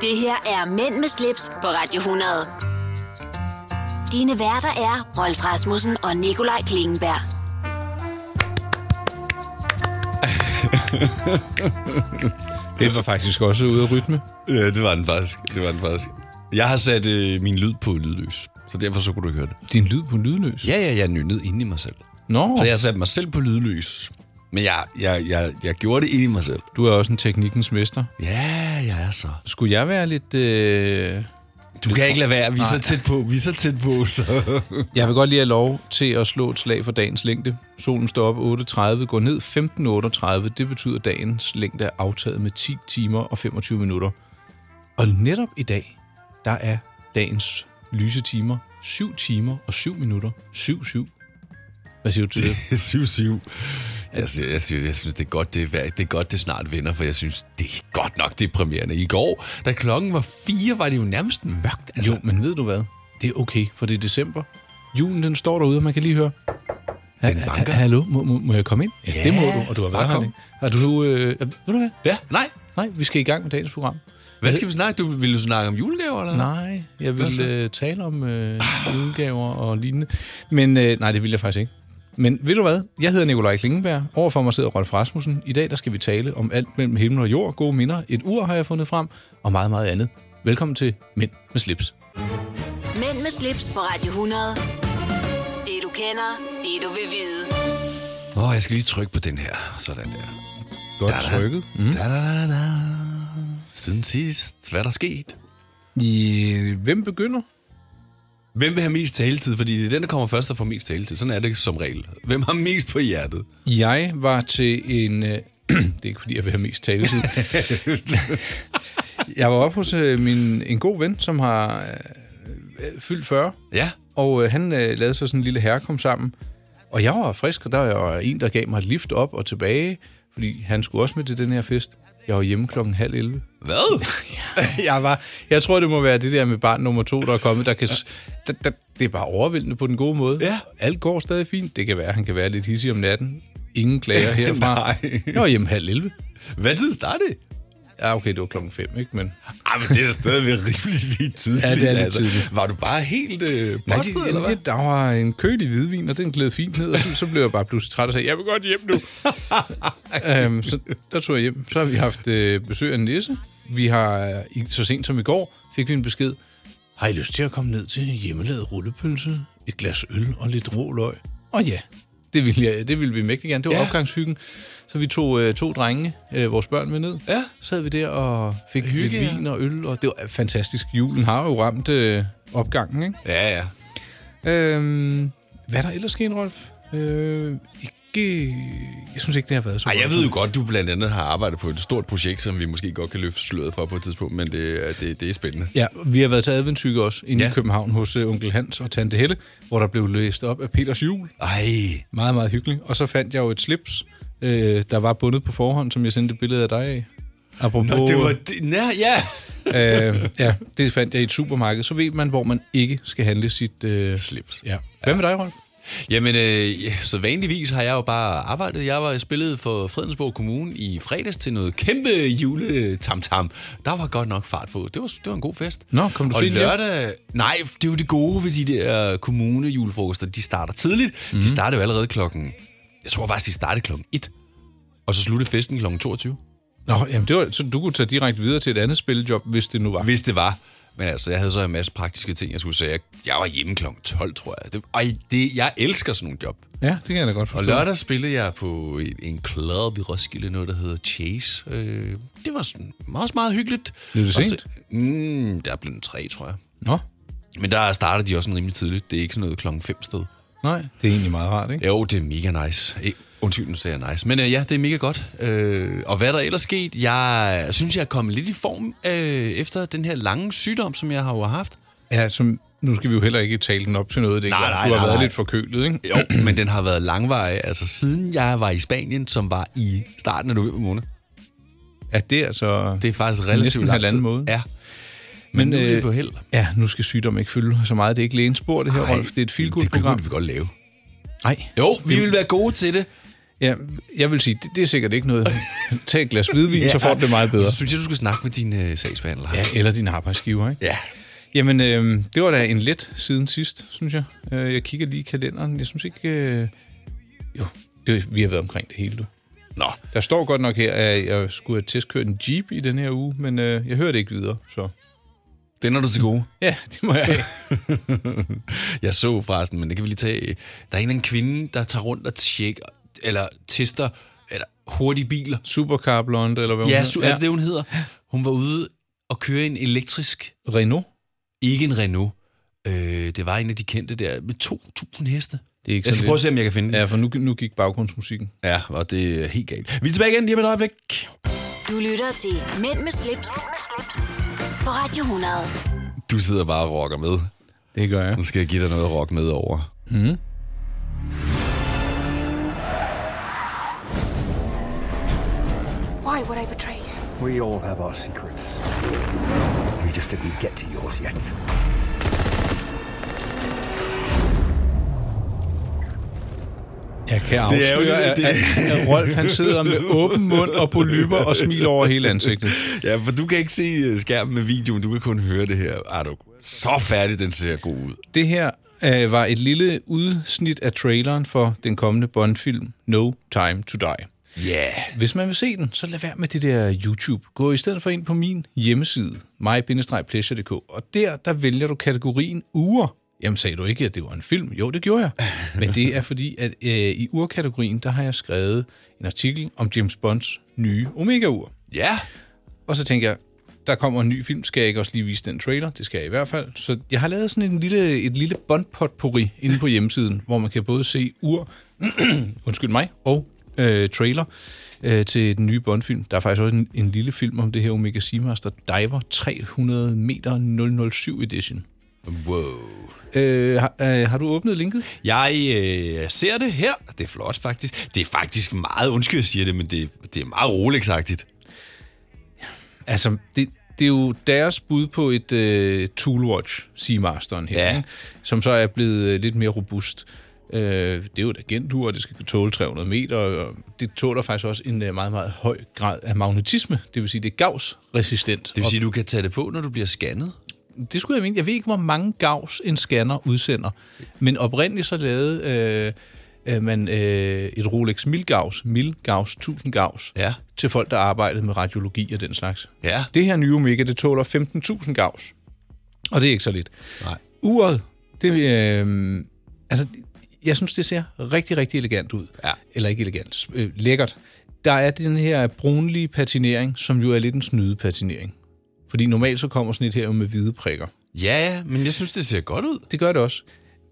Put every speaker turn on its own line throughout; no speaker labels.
Det her er Mænd med slips på Radio 100. Dine værter er Rolf Rasmussen og Nikolaj Klingenberg.
Det var faktisk også ude af rytme.
Ja, det var den faktisk. Det var den faktisk. Jeg har sat øh, min lyd på lydløs, så derfor så kunne du ikke høre det.
Din lyd på lydløs.
Ja, ja, jeg er nynnet inde i mig selv.
Nå,
Så jeg satte mig selv på lydløs. Men jeg, jeg, jeg, jeg gjorde det inde i mig selv.
du er også en teknikkens mester.
Ja, jeg er så.
Skulle jeg være lidt... Øh...
Du kan ikke lade være. Vi er så tæt på. Vi er så tæt på, så...
Jeg vil godt lige have lov til at slå et slag for dagens længde. Solen står op 8.30, går ned 15.38. Det betyder, at dagens længde er aftaget med 10 timer og 25 minutter. Og netop i dag, der er dagens lyse timer 7 timer og 7 minutter. 7-7. Hvad siger du til det?
7-7. Jeg, siger, jeg, siger, jeg synes, det er godt, det er, vær- det er godt, det snart vinder, for jeg synes, det er godt nok deprimerende. I går, da klokken var fire, var det jo nærmest mørkt. Altså,
Jo, men ved du hvad? Det er okay, for det er december. Julen, den står derude, og man kan lige høre.
Den
Ha-
banker.
ha- Hallo, må, må, må jeg komme ind? Ja, det må du, og du har
bare
været her.
kom.
længe. Har du... Øh, ved du hvad?
Ja, nej.
Nej, vi skal i gang med dagens program.
Hvad skal vi snakke? Du, vil du snakke om julegaver, eller?
Nej, jeg
så?
vil øh, tale om øh, julegaver og lignende. Men øh, nej, det vil jeg faktisk ikke. Men ved du hvad? Jeg hedder Nikolaj Klingenberg. Overfor mig sidder Rolf Rasmussen. I dag der skal vi tale om alt mellem himmel og jord, gode minder, et ur har jeg fundet frem, og meget, meget andet. Velkommen til Mænd med slips.
Mænd med slips på Radio 100. Det du kender, det du vil vide.
Åh, oh, jeg skal lige trykke på den her. Sådan der.
Godt
Da-da.
trykket.
Mm. Da, da, da, da. Siden sidst. Hvad er der sket?
I, øh, hvem begynder?
Hvem vil have mest taletid? Fordi det er den, der kommer først og får mest taletid. Sådan er det som regel. Hvem har mest på hjertet?
Jeg var til en... Øh, det er ikke, fordi jeg vil have mest taletid. jeg var oppe hos øh, min, en god ven, som har øh, fyldt 40,
Ja.
og øh, han øh, lavede så sådan en lille herrekom sammen. Og jeg var frisk, og der var en, der gav mig et lift op og tilbage, fordi han skulle også med til den her fest. Jeg var hjemme klokken halv 11.
Hvad?
jeg, var, jeg tror, det må være det der med barn nummer to, der er kommet. Der kan, s- der, der, det er bare overvældende på den gode måde.
Ja.
Alt går stadig fint. Det kan være, han kan være lidt hissig om natten. Ingen klager herfra.
Nej.
Jeg var hjemme halv 11.
Hvad tid startede det?
Ja, okay, det var klokken 5, ikke? Men
Ej, men det er da stadigvæk rimelig lige tidligt. altså.
Ja, det er lidt tidligt.
Var du bare helt øh,
Nej,
postet,
det,
eller hvad?
det, der var en kølig hvidvin, og den gled fint ned, og så, så blev jeg bare pludselig træt og sagde, jeg vil godt hjem nu. øhm, så der tog jeg hjem. Så har vi haft øh, besøg af en Nisse. Vi har, øh, i- så sent som i går, fik vi en besked. Har I lyst til at komme ned til hjemmelavet rullepølse, et glas øl og lidt rå løg? Og ja, det ville, jeg, det ville vi mægtig gerne. Det var
Ja.
ja. opgangshyggen. Så vi tog øh, to drenge, øh, vores børn med ned.
Ja.
Så sad vi der og fik Hygge,
Hygge,
lidt
ja.
vin og øl, og det var fantastisk. Julen har jo ramt øh, opgangen, ikke?
Ja, ja.
Øhm, hvad er der ellers sket, Rolf? Øh, ikke... Jeg synes ikke, det har været så
Ej, jeg
godt.
ved jo godt, du blandt andet har arbejdet på et stort projekt, som vi måske godt kan løfte sløret for på et tidspunkt, men det, er- det, det er spændende.
Ja, vi har været til adventsyke også, inde ja.
Ja.
i København hos uh, onkel Hans og tante Helle, hvor der blev læst op af Peters jul.
Ej,
Meget, meget hyggeligt. Og så fandt jeg jo et slips, øh, der var bundet på forhånd, som jeg sendte et billede af dig af. Apropos,
Nå, det var... Det, nej, ja.
øh, ja, det fandt jeg i et supermarked. Så ved man, hvor man ikke skal handle sit øh,
Slips.
Ja. Hvad med dig, Rolf?
Jamen, øh, ja, så vanligvis har jeg jo bare arbejdet. Jeg var spillet for Fredensborg Kommune i fredags til noget kæmpe juletamtam. Der var godt nok fart på. Det var, det var en god fest.
Nå, kom du
Og
sent hjem?
lørdag... Nej, det er jo det gode ved de der kommunejulefrokoster. De starter tidligt. Mm.
Mhm.
De starter jo allerede klokken... Jeg tror faktisk, de startede klokken 1. Og så sluttede festen klokken 22.
Nå, jamen det var, så du kunne tage direkte videre til et andet spillejob, hvis det nu var.
Hvis det var. Men altså, jeg havde så en masse praktiske ting, jeg skulle sige. Jeg, jeg var hjemme klokken 12, tror jeg. Det, og det, jeg elsker sådan nogle job.
Ja, det kan jeg da godt
Og
forstå.
lørdag spillede jeg på en, en club i Roskilde, noget der hedder Chase. Øh, det var sådan, også meget hyggeligt.
Blev det
Og så-
sent?
Mm, der blev den tre, tror jeg.
Nå,
Men der starter de også sådan rimelig tidligt. Det er ikke sådan noget klokken fem sted.
Nej, det er egentlig meget rart, ikke?
Jo, det er mega nice. Eh, Undskyld, nu sagde jeg nice. Men øh, ja, det er mega godt. Øh, og hvad er der ellers sket? Jeg synes, jeg er kommet lidt i form øh, efter den her lange sygdom, som jeg har jo haft.
Ja, som, nu skal vi jo heller ikke tale den op til noget, det
Nej,
nej,
nej,
nej, Du har
nej,
været
nej.
lidt forkølet, ikke?
Jo, men den har været langvarig. Altså, siden jeg var i Spanien, som var i starten af november måned.
Ja, det er altså...
Det er faktisk relativt
Næsten
lang
halvanden
tid.
måned.
Ja. Men, Men nu er
øh,
det for held.
Ja, nu skal sygdom ikke fylde så meget. Det er ikke lægens spor, det her, Rolf. Det er et
det kunne
filgudprogram.
vi godt lave.
Nej,
Jo, vi vil være gode til det.
Ja, jeg vil sige, det, det er sikkert ikke noget. Tag et glas hvidvin, ja. så får du det meget bedre.
Så synes jeg, du skal snakke med din øh, sagsbehandler.
Ja, eller din arbejdsgiver, ikke?
ja.
Jamen, øh, det var da en let siden sidst, synes jeg. Øh, jeg kigger lige i kalenderen. Jeg synes ikke... Øh, jo, det, vi har været omkring det hele, du.
Nå,
Der står godt nok her, at jeg skulle have testkørt en Jeep i den her uge, men øh, jeg hører det ikke videre, så...
den er du til gode.
Ja, det må jeg have.
Jeg så forresten, men det kan vi lige tage. øh, Der er en eller anden kvinde, der tager rundt og tjekker, eller tester, eller hurtige biler.
Supercar Blonde, eller hvad hun
Ja,
hedder.
su- er det det, hun hedder? Hun var ude og køre en elektrisk,
Renault.
ikke en Renault. Øh, det var en af de kendte der, med 2.000 heste.
Det er ikke
Jeg skal
sådan
prøve at
lidt-
se, om jeg kan finde den.
Ja, for nu, nu gik baggrundsmusikken.
Ja, og det er helt galt. Vi er tilbage igen lige om et øjeblik.
Du lytter til Mænd med slips, på Radio 100.
Du sidder bare og rocker med.
Det gør jeg.
Nu skal jeg give dig noget at rock med over.
Why would I betray you?
We all have our secrets. We just didn't get to yours yet.
Jeg kan
Det er jo
afsløre, at,
lidt-
at, at Rolf han sidder med åben mund og polypper og smiler over hele ansigtet.
Ja, for du kan ikke se øh, skærmen med videoen, du kan kun høre det her. Er du så færdig, den ser god ud.
Det her øh, var et lille udsnit af traileren for den kommende Bond-film No Time To Die.
Ja. Yeah.
Hvis man vil se den, så lad være med det der YouTube. Gå i stedet for ind på min hjemmeside, mig-pleasure.dk, og der, der vælger du kategorien uger. Jamen sagde du ikke, at det var en film? Jo, det gjorde jeg. Men det er fordi, at øh, i urkategorien, der har jeg skrevet en artikel om James Bonds nye Omega-ur.
Ja.
Og så tænker jeg, der kommer en ny film, skal jeg ikke også lige vise den trailer? Det skal jeg i hvert fald. Så jeg har lavet sådan en lille, et lille bondpotpourri inde på hjemmesiden, hvor man kan både se ur, undskyld mig, og øh, trailer øh, til den nye Bond-film. Der er faktisk også en, en lille film om det her Omega Seamaster Diver 300 meter 007 edition.
Wow.
Øh, har, øh, har du åbnet linket?
Jeg øh, ser det her. Det er flot, faktisk. Det er faktisk meget, undskyld, jeg siger det, men det, det er meget rolex -agtigt.
Altså, det, det er jo deres bud på et øh, Toolwatch Seamasteren her,
Ja.
ikke? som så er blevet øh, lidt mere robust. Øh, det er jo et agentur, og det skal kunne tåle 300 meter, og det tåler faktisk også en øh, meget, meget høj grad af magnetisme, det vil sige, det er gavsresistent.
Det vil sige, at du kan tage det på, når du bliver scannet.
Og det skulle jeg mene, jeg ved ikke, hvor mange gavs en scanner udsender, men oprindeligt så lavede øh, øh, man øh, et Rolex Milgavs, Milgavs 1000 gavs,
Ja.
til folk, der arbejdede med radiologi og den slags.
Ja.
Det her nye Omega, det tåler 15.000 gavs. Og det er ikke så lidt.
Nej.
Uret, det, øh, altså, jeg synes, det ser rigtig, rigtig elegant ud.
Ja.
Eller ikke elegant, s- øh, lækkert. Der er den her brunlige patinering, som jo er lidt en snydepatinering. Fordi normalt så kommer sådan et her jo med hvide prikker.
Ja, ja, men jeg synes, det ser godt ud.
Det gør det også.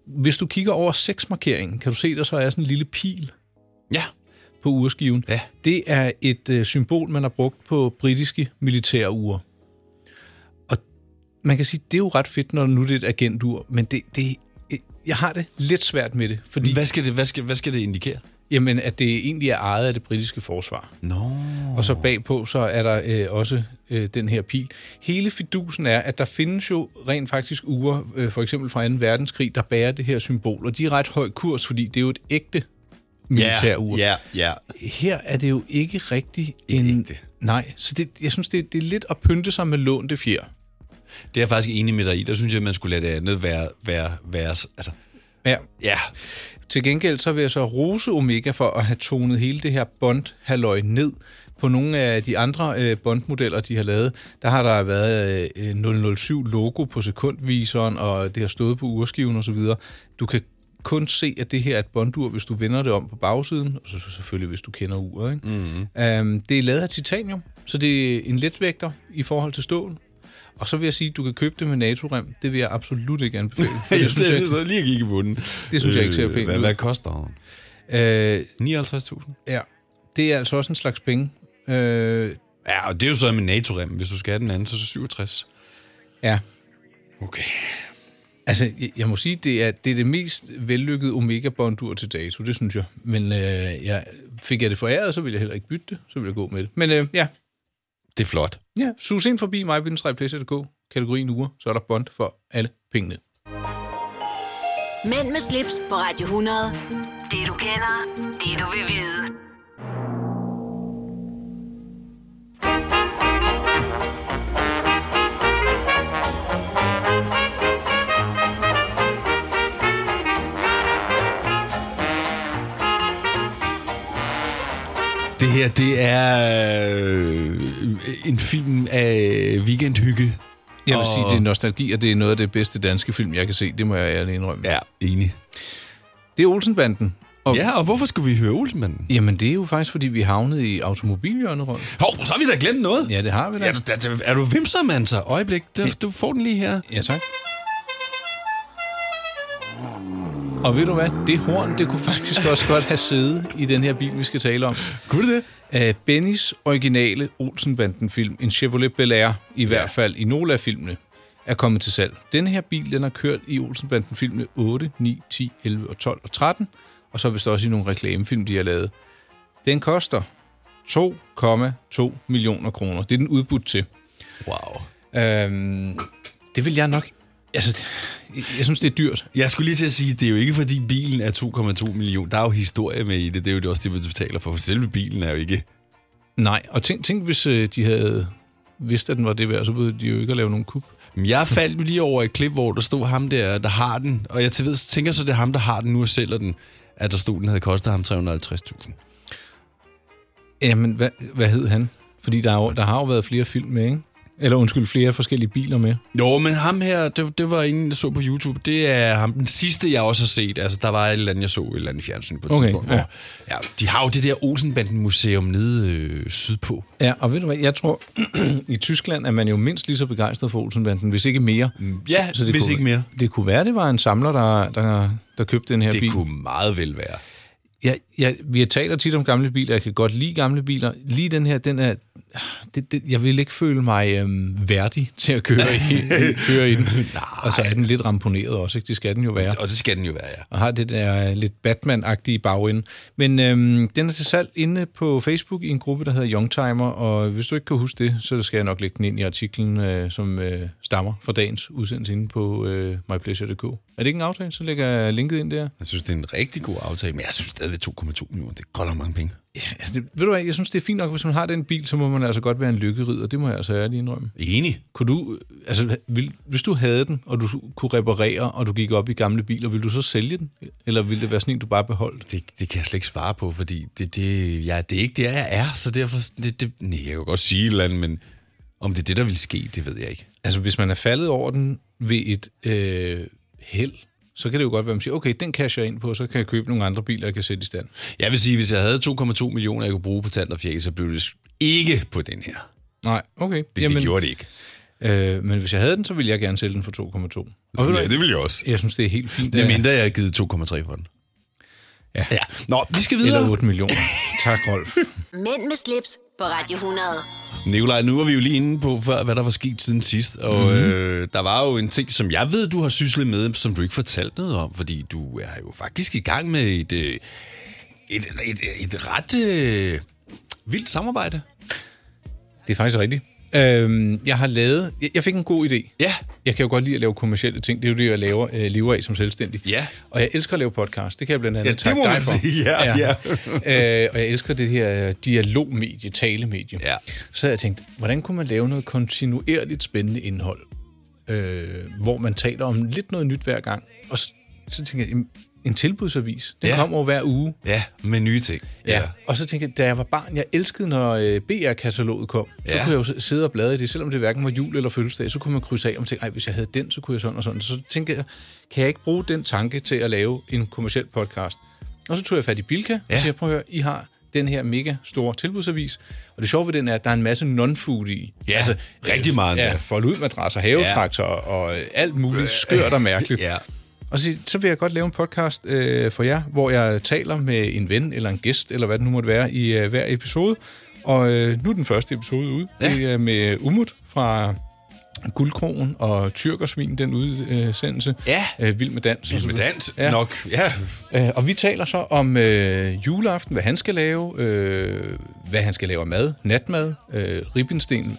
Hvis du kigger over seksmarkeringen, kan du se, der så er sådan en lille pil
Ja.
på urskiven.
Ja.
Det er et øh, symbol, man har brugt på britiske militære ure. Og man kan sige, det er jo ret fedt, når nu det er et agentur, men det, det, øh, jeg har det lidt svært med det, fordi
Hvad skal det, hvad skal, hvad skal det indikere?
jamen, at det egentlig er ejet af det britiske forsvar.
Nå.
Og så bagpå, så er der øh, også øh, den her pil. Hele fidusen er, at der findes jo rent faktisk uger, øh, for eksempel fra 2. verdenskrig, der bærer det her symbol, og de er ret høj kurs, fordi det er jo et ægte militær ur
Ja, ja.
her er det jo ikke rigtig
Ikke
en...
ægte.
Nej, så det, jeg synes, det, det er lidt at pynte sig med lånte fjer.
Det er jeg faktisk enig med dig i. Der synes jeg, man skulle lade det andet være... være, være altså,
Ja.
ja.
Til gengæld så vil jeg så rose Omega for at have tonet hele det her bond halløj ned. På nogle af de andre øh, bondmodeller, de har lavet, der har der været øh, 007-logo på sekundviseren, og det har stået på urskiven osv. Du kan kun se, at det her er et bondur, hvis du vender det om på bagsiden, og så så selvfølgelig, hvis du kender uret. Ikke? Mm-hmm. Um, det er lavet af titanium, så det er en letvægter i forhold til stål. Og så vil jeg sige, at du kan købe det med NATO-rem. Det vil jeg absolut ikke anbefale. for
Jeg
synes jeg-
sidder lige og kigger på den.
Det synes jeg ikke ser
Øh,
pænt
hvad,
ud.
Hvad koster den?
Øh,
59.000.
Ja, det er altså også en slags penge. Øh,
Ja, og det er jo så med NATO-rem. Hvis du skal have den anden, så er det 67.
ja,
Okay.
altså jeg, jeg må sige, det er det, er det mest vellykkede Omega-bondur til dato, det synes jeg. Men øh, jeg, fik jeg det foræret, så ville jeg heller ikke bytte det, så ville jeg gå med det. Men øh, ja,
Det er flot.
ja, sus ind forbi mig, kategorien uger, så er der bond for alle pengene.
Mænd med slips på Radio 100. Det du kender, det du vil vide.
Det her, det er øh, en film af weekendhygge.
Jeg vil sige, det er nostalgi, og det er noget af det bedste danske film, jeg kan se. Det må jeg ærligt indrømme.
Ja, enig.
Det er Olsenbanden. Og,
Ja, og hvorfor skulle vi høre Olsenmanden?
Jamen, det er jo faktisk, fordi vi havnede i automobilhjørnet rundt.
Hov, så har vi da glemt noget.
Ja, det har vi da.
Er du, er, du- er du vimser, mand, så? Øjeblik, du, du får den lige her.
Ja, tak. Og ved du hvad? Det horn, det kunne faktisk også godt have siddet i den her bil, vi skal tale om.
Kunne det det?
Af Bennys originale Olsenbanden-film, en Chevrolet Bel Air, i ja. hvert fald i nogle af filmene, er kommet til salg. Den her bil, den har kørt i Olsenbanden-filmene 8, 9, 10, 11, og 12 og 13, og så vist også i nogle reklamefilm, de har lavet. Den koster 2,2 millioner kroner. Det er den udbudt til.
Wow.
Øhm, det vil jeg nok... Altså, det- jeg, jeg synes, det er dyrt.
Jeg skulle lige til at sige, det er jo ikke fordi bilen er 2,2 millioner. Der er jo historie med i det. Det er jo det også det, du betaler for. For selve bilen er jo ikke...
Nej, og tænk, tænk hvis øh, de havde vidst, at den var det værd, så behøvede de jo ikke at lave nogen kub.
Men Jeg faldt jo lige over et klip, hvor der stod ham der, der har den. Og jeg til ved, tænker så, det er ham, der har den nu og sælger den. At der stod, den havde kostet ham 350.000.
Jamen, hvad, hvad hed han? Fordi der, er jo, der har jo været flere film med, ikke? Eller undskyld, flere forskellige biler med.
Jo, men ham her, det, det var ingen, der så på YouTube. Det er ham den sidste, jeg også har set. Altså, der var et eller andet, jeg så et eller andet fjernsyn på et
Okay,
tidspunkt.
ja.
hvor- ja. De har jo det der Olsenbanden-museum nede øh, sydpå.
Ja, og ved du hvad, jeg tror, i Tyskland er man jo mindst lige så begejstret for Olsenbanden, hvis ikke mere.
ja, hvis
kunne,
ikke mere.
Det kunne være, det var en samler, der, der, der købte den her
Det
bil.
kunne meget vel være.
Jeg, jeg, vi taler tit om gamle biler, jeg kan godt lide gamle biler. Lige den her, den er... Det, det, jeg vil ikke føle mig øhm, værdig til at køre i, køre i den. Og så er den lidt ramponeret også, ikke? Det skal den jo være.
Og det skal den jo være, ja.
Og har det der øh, lidt Batman-agtige bagende. Men øhm, den er til salg inde på Facebook i en gruppe, der hedder Youngtimer. Og hvis du ikke kan huske det, så skal jeg nok lægge den ind i artiklen, øh, som øh, stammer fra dagens udsendelse inde på øh, mypleasure.dk. Er det ikke en aftale? Så lægger jeg linket ind der.
Jeg synes, det er en rigtig god aftale, men jeg synes stadigvæk 2,2 millioner, det er godt nok mange penge.
Ja, altså det, ved du hvad, jeg synes, det er fint nok, hvis man har den bil, så må man altså godt være en lykkerider. Det må jeg altså ærligt indrømme.
Enig.
Kunne du, altså, vil, hvis du havde den, og du kunne reparere, og du gik op i gamle biler, ville du så sælge den? Eller ville det være sådan en, du bare beholdt?
Det, det kan jeg slet ikke svare på, fordi det, det, ja, det er ikke det, jeg er, så derfor... Det, det, nej, jeg kan godt sige et eller andet, men om det er det, der vil ske, det ved jeg ikke.
Altså, hvis man er faldet over den ved et øh, held, så kan det jo godt være, at man siger, okay, den casher jeg ind på, så kan jeg købe nogle andre biler, jeg kan sætte i stand.
Jeg vil sige, hvis jeg havde 2,2 millioner, jeg kunne bruge på tand og fjæl, så blev det ikke på den her.
Nej, okay.
Det, Jamen, det gjorde det ikke.
øh, men hvis jeg havde den, så ville jeg gerne sælge den for 2,2. Og ved du,
Ja,
hvad,
det ville jeg også.
jeg synes, det er helt fint. øh,
Det
at-
mindre, jeg havde givet 2,3 for den.
Ja.
ja. Nå, vi skal videre.
Eller 8 millioner. Tak, Rolf.
Mænd med slips på Radio 100.
Nikolaj, nu var vi jo lige inde på, hvad hvad der var sket siden sidst, og
Mhm.
mm-hmm. øh, der var jo en ting, som jeg ved, du har syslet med, som du ikke fortalte noget om, fordi du er jo faktisk i gang med et, øh, et, et, et ret øh, vildt samarbejde.
Det er faktisk rigtigt. Øhm, jeg har lavet... Jeg, jeg fik en god idé.
Ja.
Jeg kan jo godt lide at lave kommersielle ting. Det er jo det, jeg laver, øh, lever af som selvstændig.
Ja.
Og jeg elsker at lave podcast. Det kan jeg blandt andet
Ja, det
takke
må
dig
man
for.
sige. Ja,
øh, og jeg elsker det her øh, dialogmedie, talemedie.
Ja.
Så havde jeg tænkt, hvordan kunne man lave noget kontinuerligt spændende indhold, øh, hvor man taler om lidt noget nyt hver gang. Og så, så tænkte jeg, jamen, en tilbudsavis, den
Ja.
kommer jo hver uge.
Ja, med nye ting.
Ja. Og så tænkte jeg, da jeg var barn, jeg elskede, når øh, BR-kataloget kom. Så
Ja.
kunne jeg jo s- sidde og bladre i det, selvom det hverken var jul eller fødselsdag. Så kunne man krydse af og tænke, "Ej, hvis jeg havde den, så kunne jeg sådan og sådan. Så tænkte jeg, kan jeg ikke bruge den tanke til at lave en kommersiel podcast? Og så tog jeg fat i Bilka, ja.
Ja.
og siger, prøv at høre, I har den her mega store tilbudsavis. Og det sjove ved den er, at der er en masse non-food i. Altså,
Ja, rigtig meget endda.
Ja, fold ud madrasser, havetraktorer ja. og øh, alt muligt skørt og mærkeligt.
Ja.
Og så, så vil jeg godt lave en podcast øh, for jer, hvor jeg taler med en ven eller en gæst, eller hvad det nu måtte være, i øh, hver episode. Og øh, nu er den første episode ude. Ja. Det er med Umut fra Guldkrogen og Tyrkersvin, den udsendelse.
Ja.
Øh, Vild med dans. og så
Med
videre.
dans ja. nok. Ja.
Øh, og vi taler så om øh, juleaften, hvad han skal lave, øh, hvad han skal lave af mad, natmad, øh, ribbensten,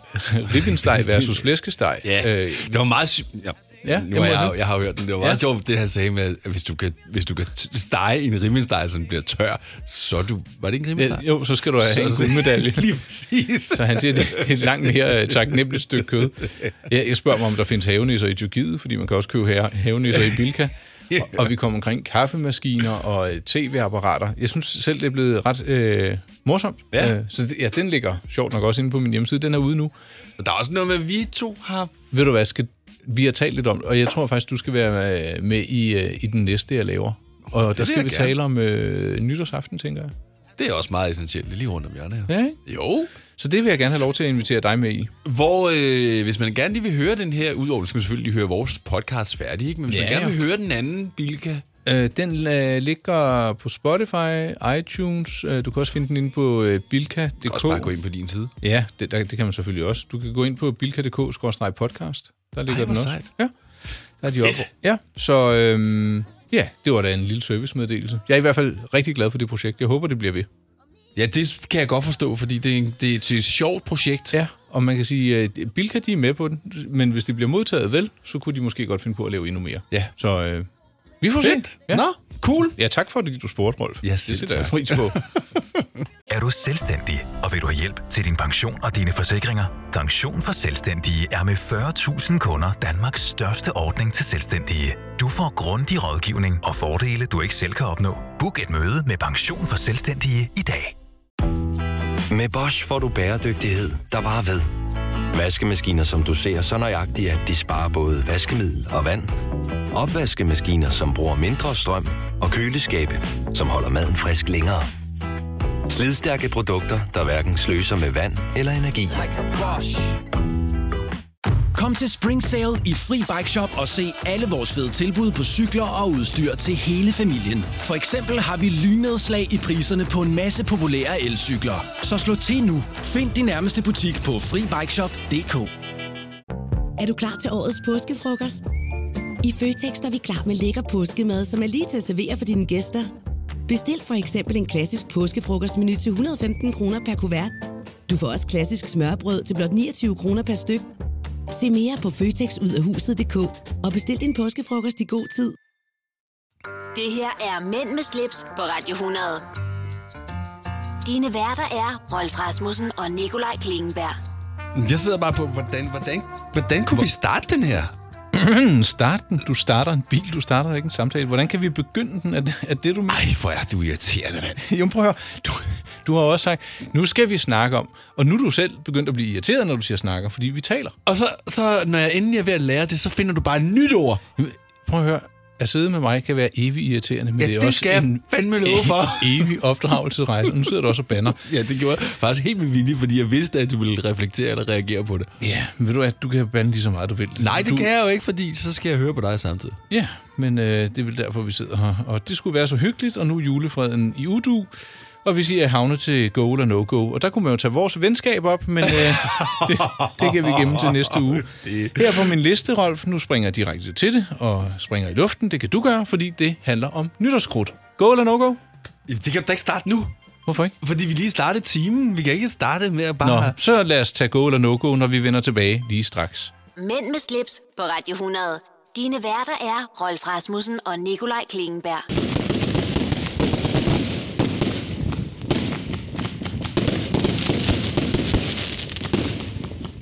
ribbensteg versus flæskesteg.
ja.
Øh,
det var meget... sy- Ja.
Ja,
nu
jeg
er
må
jeg,
nu.
jeg, jeg har jo hørt den. Det var meget ja. sjovt, det han sagde med, at hvis du kan, hvis du kan t- stege en rimmelsteg, så den bliver tør, så er du... Var det ikke en rimmelsteg?
Ja, jo, så skal du have en guldmedalje.
Lige præcis.
Så han siger, det det er et langt mere øh, taknemmeligt stykke kød. Jeg, jeg spørger mig, om der findes havenisser i Tyrkiet, fordi man kan også købe have- havenisser i Bilka. Og, og vi kommer omkring kaffemaskiner og øh, tv-apparater. Jeg synes selv, det er blevet ret øh, morsomt.
Ja.
Øh, så det, ja, den ligger sjovt nok også inde på min hjemmeside. Den er ude nu.
Og der er også noget med, at vi to har...
Ved du hvad, skal, vi har talt lidt om det, og jeg tror faktisk, du skal være øh, med i, øh, i den næste, jeg laver. Og der
vil
skal
jeg
vi
gerne.
tale om øh, nytårsaften, tænker jeg.
Det er også meget essentielt. Det er lige rundt om hjørnet her.
Ja, ikke?
Jo.
Så det vil jeg gerne have lov til at invitere dig med i.
Hvor, øh, hvis man gerne lige vil høre den her, udover skal man selvfølgelig høre vores podcast færdig, ikke? men hvis
Ja,
man gerne
jo.
vil høre den anden Bilka,
Øh, den øh, ligger på Spotify, iTunes. Øh, du kan også finde den inde på øh,
kan også bare gå
bilka.dk.
ind på din side.
Ja, det, der, det kan man selvfølgelig også. Du kan gå ind på bilka.dk-podcast. Der ligger
hvor
den også.
sejt.
Ja, der er de oppe. Ja, så øhm, ja, det var da en lille servicemeddelelse. Jeg er i hvert fald rigtig glad for det projekt. Jeg håber, det bliver ved.
Ja, det kan jeg godt forstå, fordi det er, en, det er et, det er et sjovt projekt.
Ja, og man kan sige, at Bilka de er med på den, men hvis det bliver modtaget vel, så kunne de måske godt finde på at lave endnu mere.
Ja.
Så øh, vi får se.
Ja.
Ja.
Nå, cool.
ja, tak for det, du spurgte, Rolf.
Ja,
det
selv
sætter jeg
tak.
pris på.
Er du selvstændig, og vil du have hjælp til din pension og dine forsikringer? Pension for Selvstændige er med 40.000 kunder Danmarks største ordning til selvstændige. Du får grundig rådgivning og fordele, du ikke selv kan opnå. Book et møde med Pension for Selvstændige i dag.
Med Bosch får du bæredygtighed, der varer ved. Vaskemaskiner, som du ser så nøjagtigt, at de sparer både vaskemiddel og vand. Opvaskemaskiner, som bruger mindre strøm. Og køleskabe, som holder maden frisk længere. Slidstærke produkter, der hverken sløser med vand eller energi.
Kom til Spring Sale i Fri Bike Shop og se alle vores fede tilbud på cykler og udstyr til hele familien. For eksempel har vi lynedslag i priserne på en masse populære elcykler. Så slå til nu. Find din nærmeste butik på FriBikeShop.dk
Er du klar til årets påskefrokost? I Føtex er vi klar med lækker påskemad, som er lige til at servere for dine gæster. Bestil for eksempel en klassisk påskefrokostmenu til 115 kroner per kuvert. Du får også klassisk smørbrød til blot 29 kroner per styk. Se mere på føtexudafhuset.dk og bestil din påskefrokost i god tid.
Det her er Mænd med slips på Radio 100. Dine værter er Rolf Rasmussen og Nikolaj Klingenberg.
Jeg sidder bare på, hvordan, hvordan, hvordan kunne vi starte den her?
Hm, Start den. Du starter en bil, du starter ikke en samtale. Hvordan kan vi begynde den? Er det, er det du mener?
Ej, hvor er du irriterende, mand.
Jo, prøv at høre. Du, du har også sagt, nu skal vi snakke om. Og nu er du selv begyndt at blive irriteret, når du siger snakker, fordi vi taler.
Og så, så, når jeg endelig er ved at lære det, så finder du bare et nyt ord.
Jamen, Prøv at høre. At sidde med mig kan være evig irriterende, men
Ja,
det er
det
også
skal jeg
en
fandme love for.
evig opdragelsesrejse. Og nu sidder du også og banner.
Ja, det gjorde jeg faktisk helt med vilje, fordi jeg vidste, at du ville reflektere eller reagere på det.
Ja, men ved du at du kan bande lige så meget, du vil.
Nej, det
du,
du... kan jeg jo ikke, fordi så skal jeg høre på dig samtidig.
Ja, men øh, det er vel derfor, vi sidder her. Og det skulle være så hyggeligt, og nu er julefreden i udu. Og vi siger havne til go eller no-go. Og der kunne man jo tage vores venskab op, men øh, det, det kan vi gemme til næste uge. Her på min liste, Rolf, nu springer jeg direkte til det, og springer i luften. Det kan du gøre, fordi det handler om nytårskrudt. Go eller no-go?
Det kan du da ikke starte nu,
Hvorfor ikke?
fordi vi lige startede timen. Vi kan ikke starte med at
Nå,
bare...
så lad os tage go eller no-go, når vi vender tilbage lige straks.
Mænd med slips på Radio 100. Dine værter er Rolf Rasmussen og Nikolaj Klingenberg.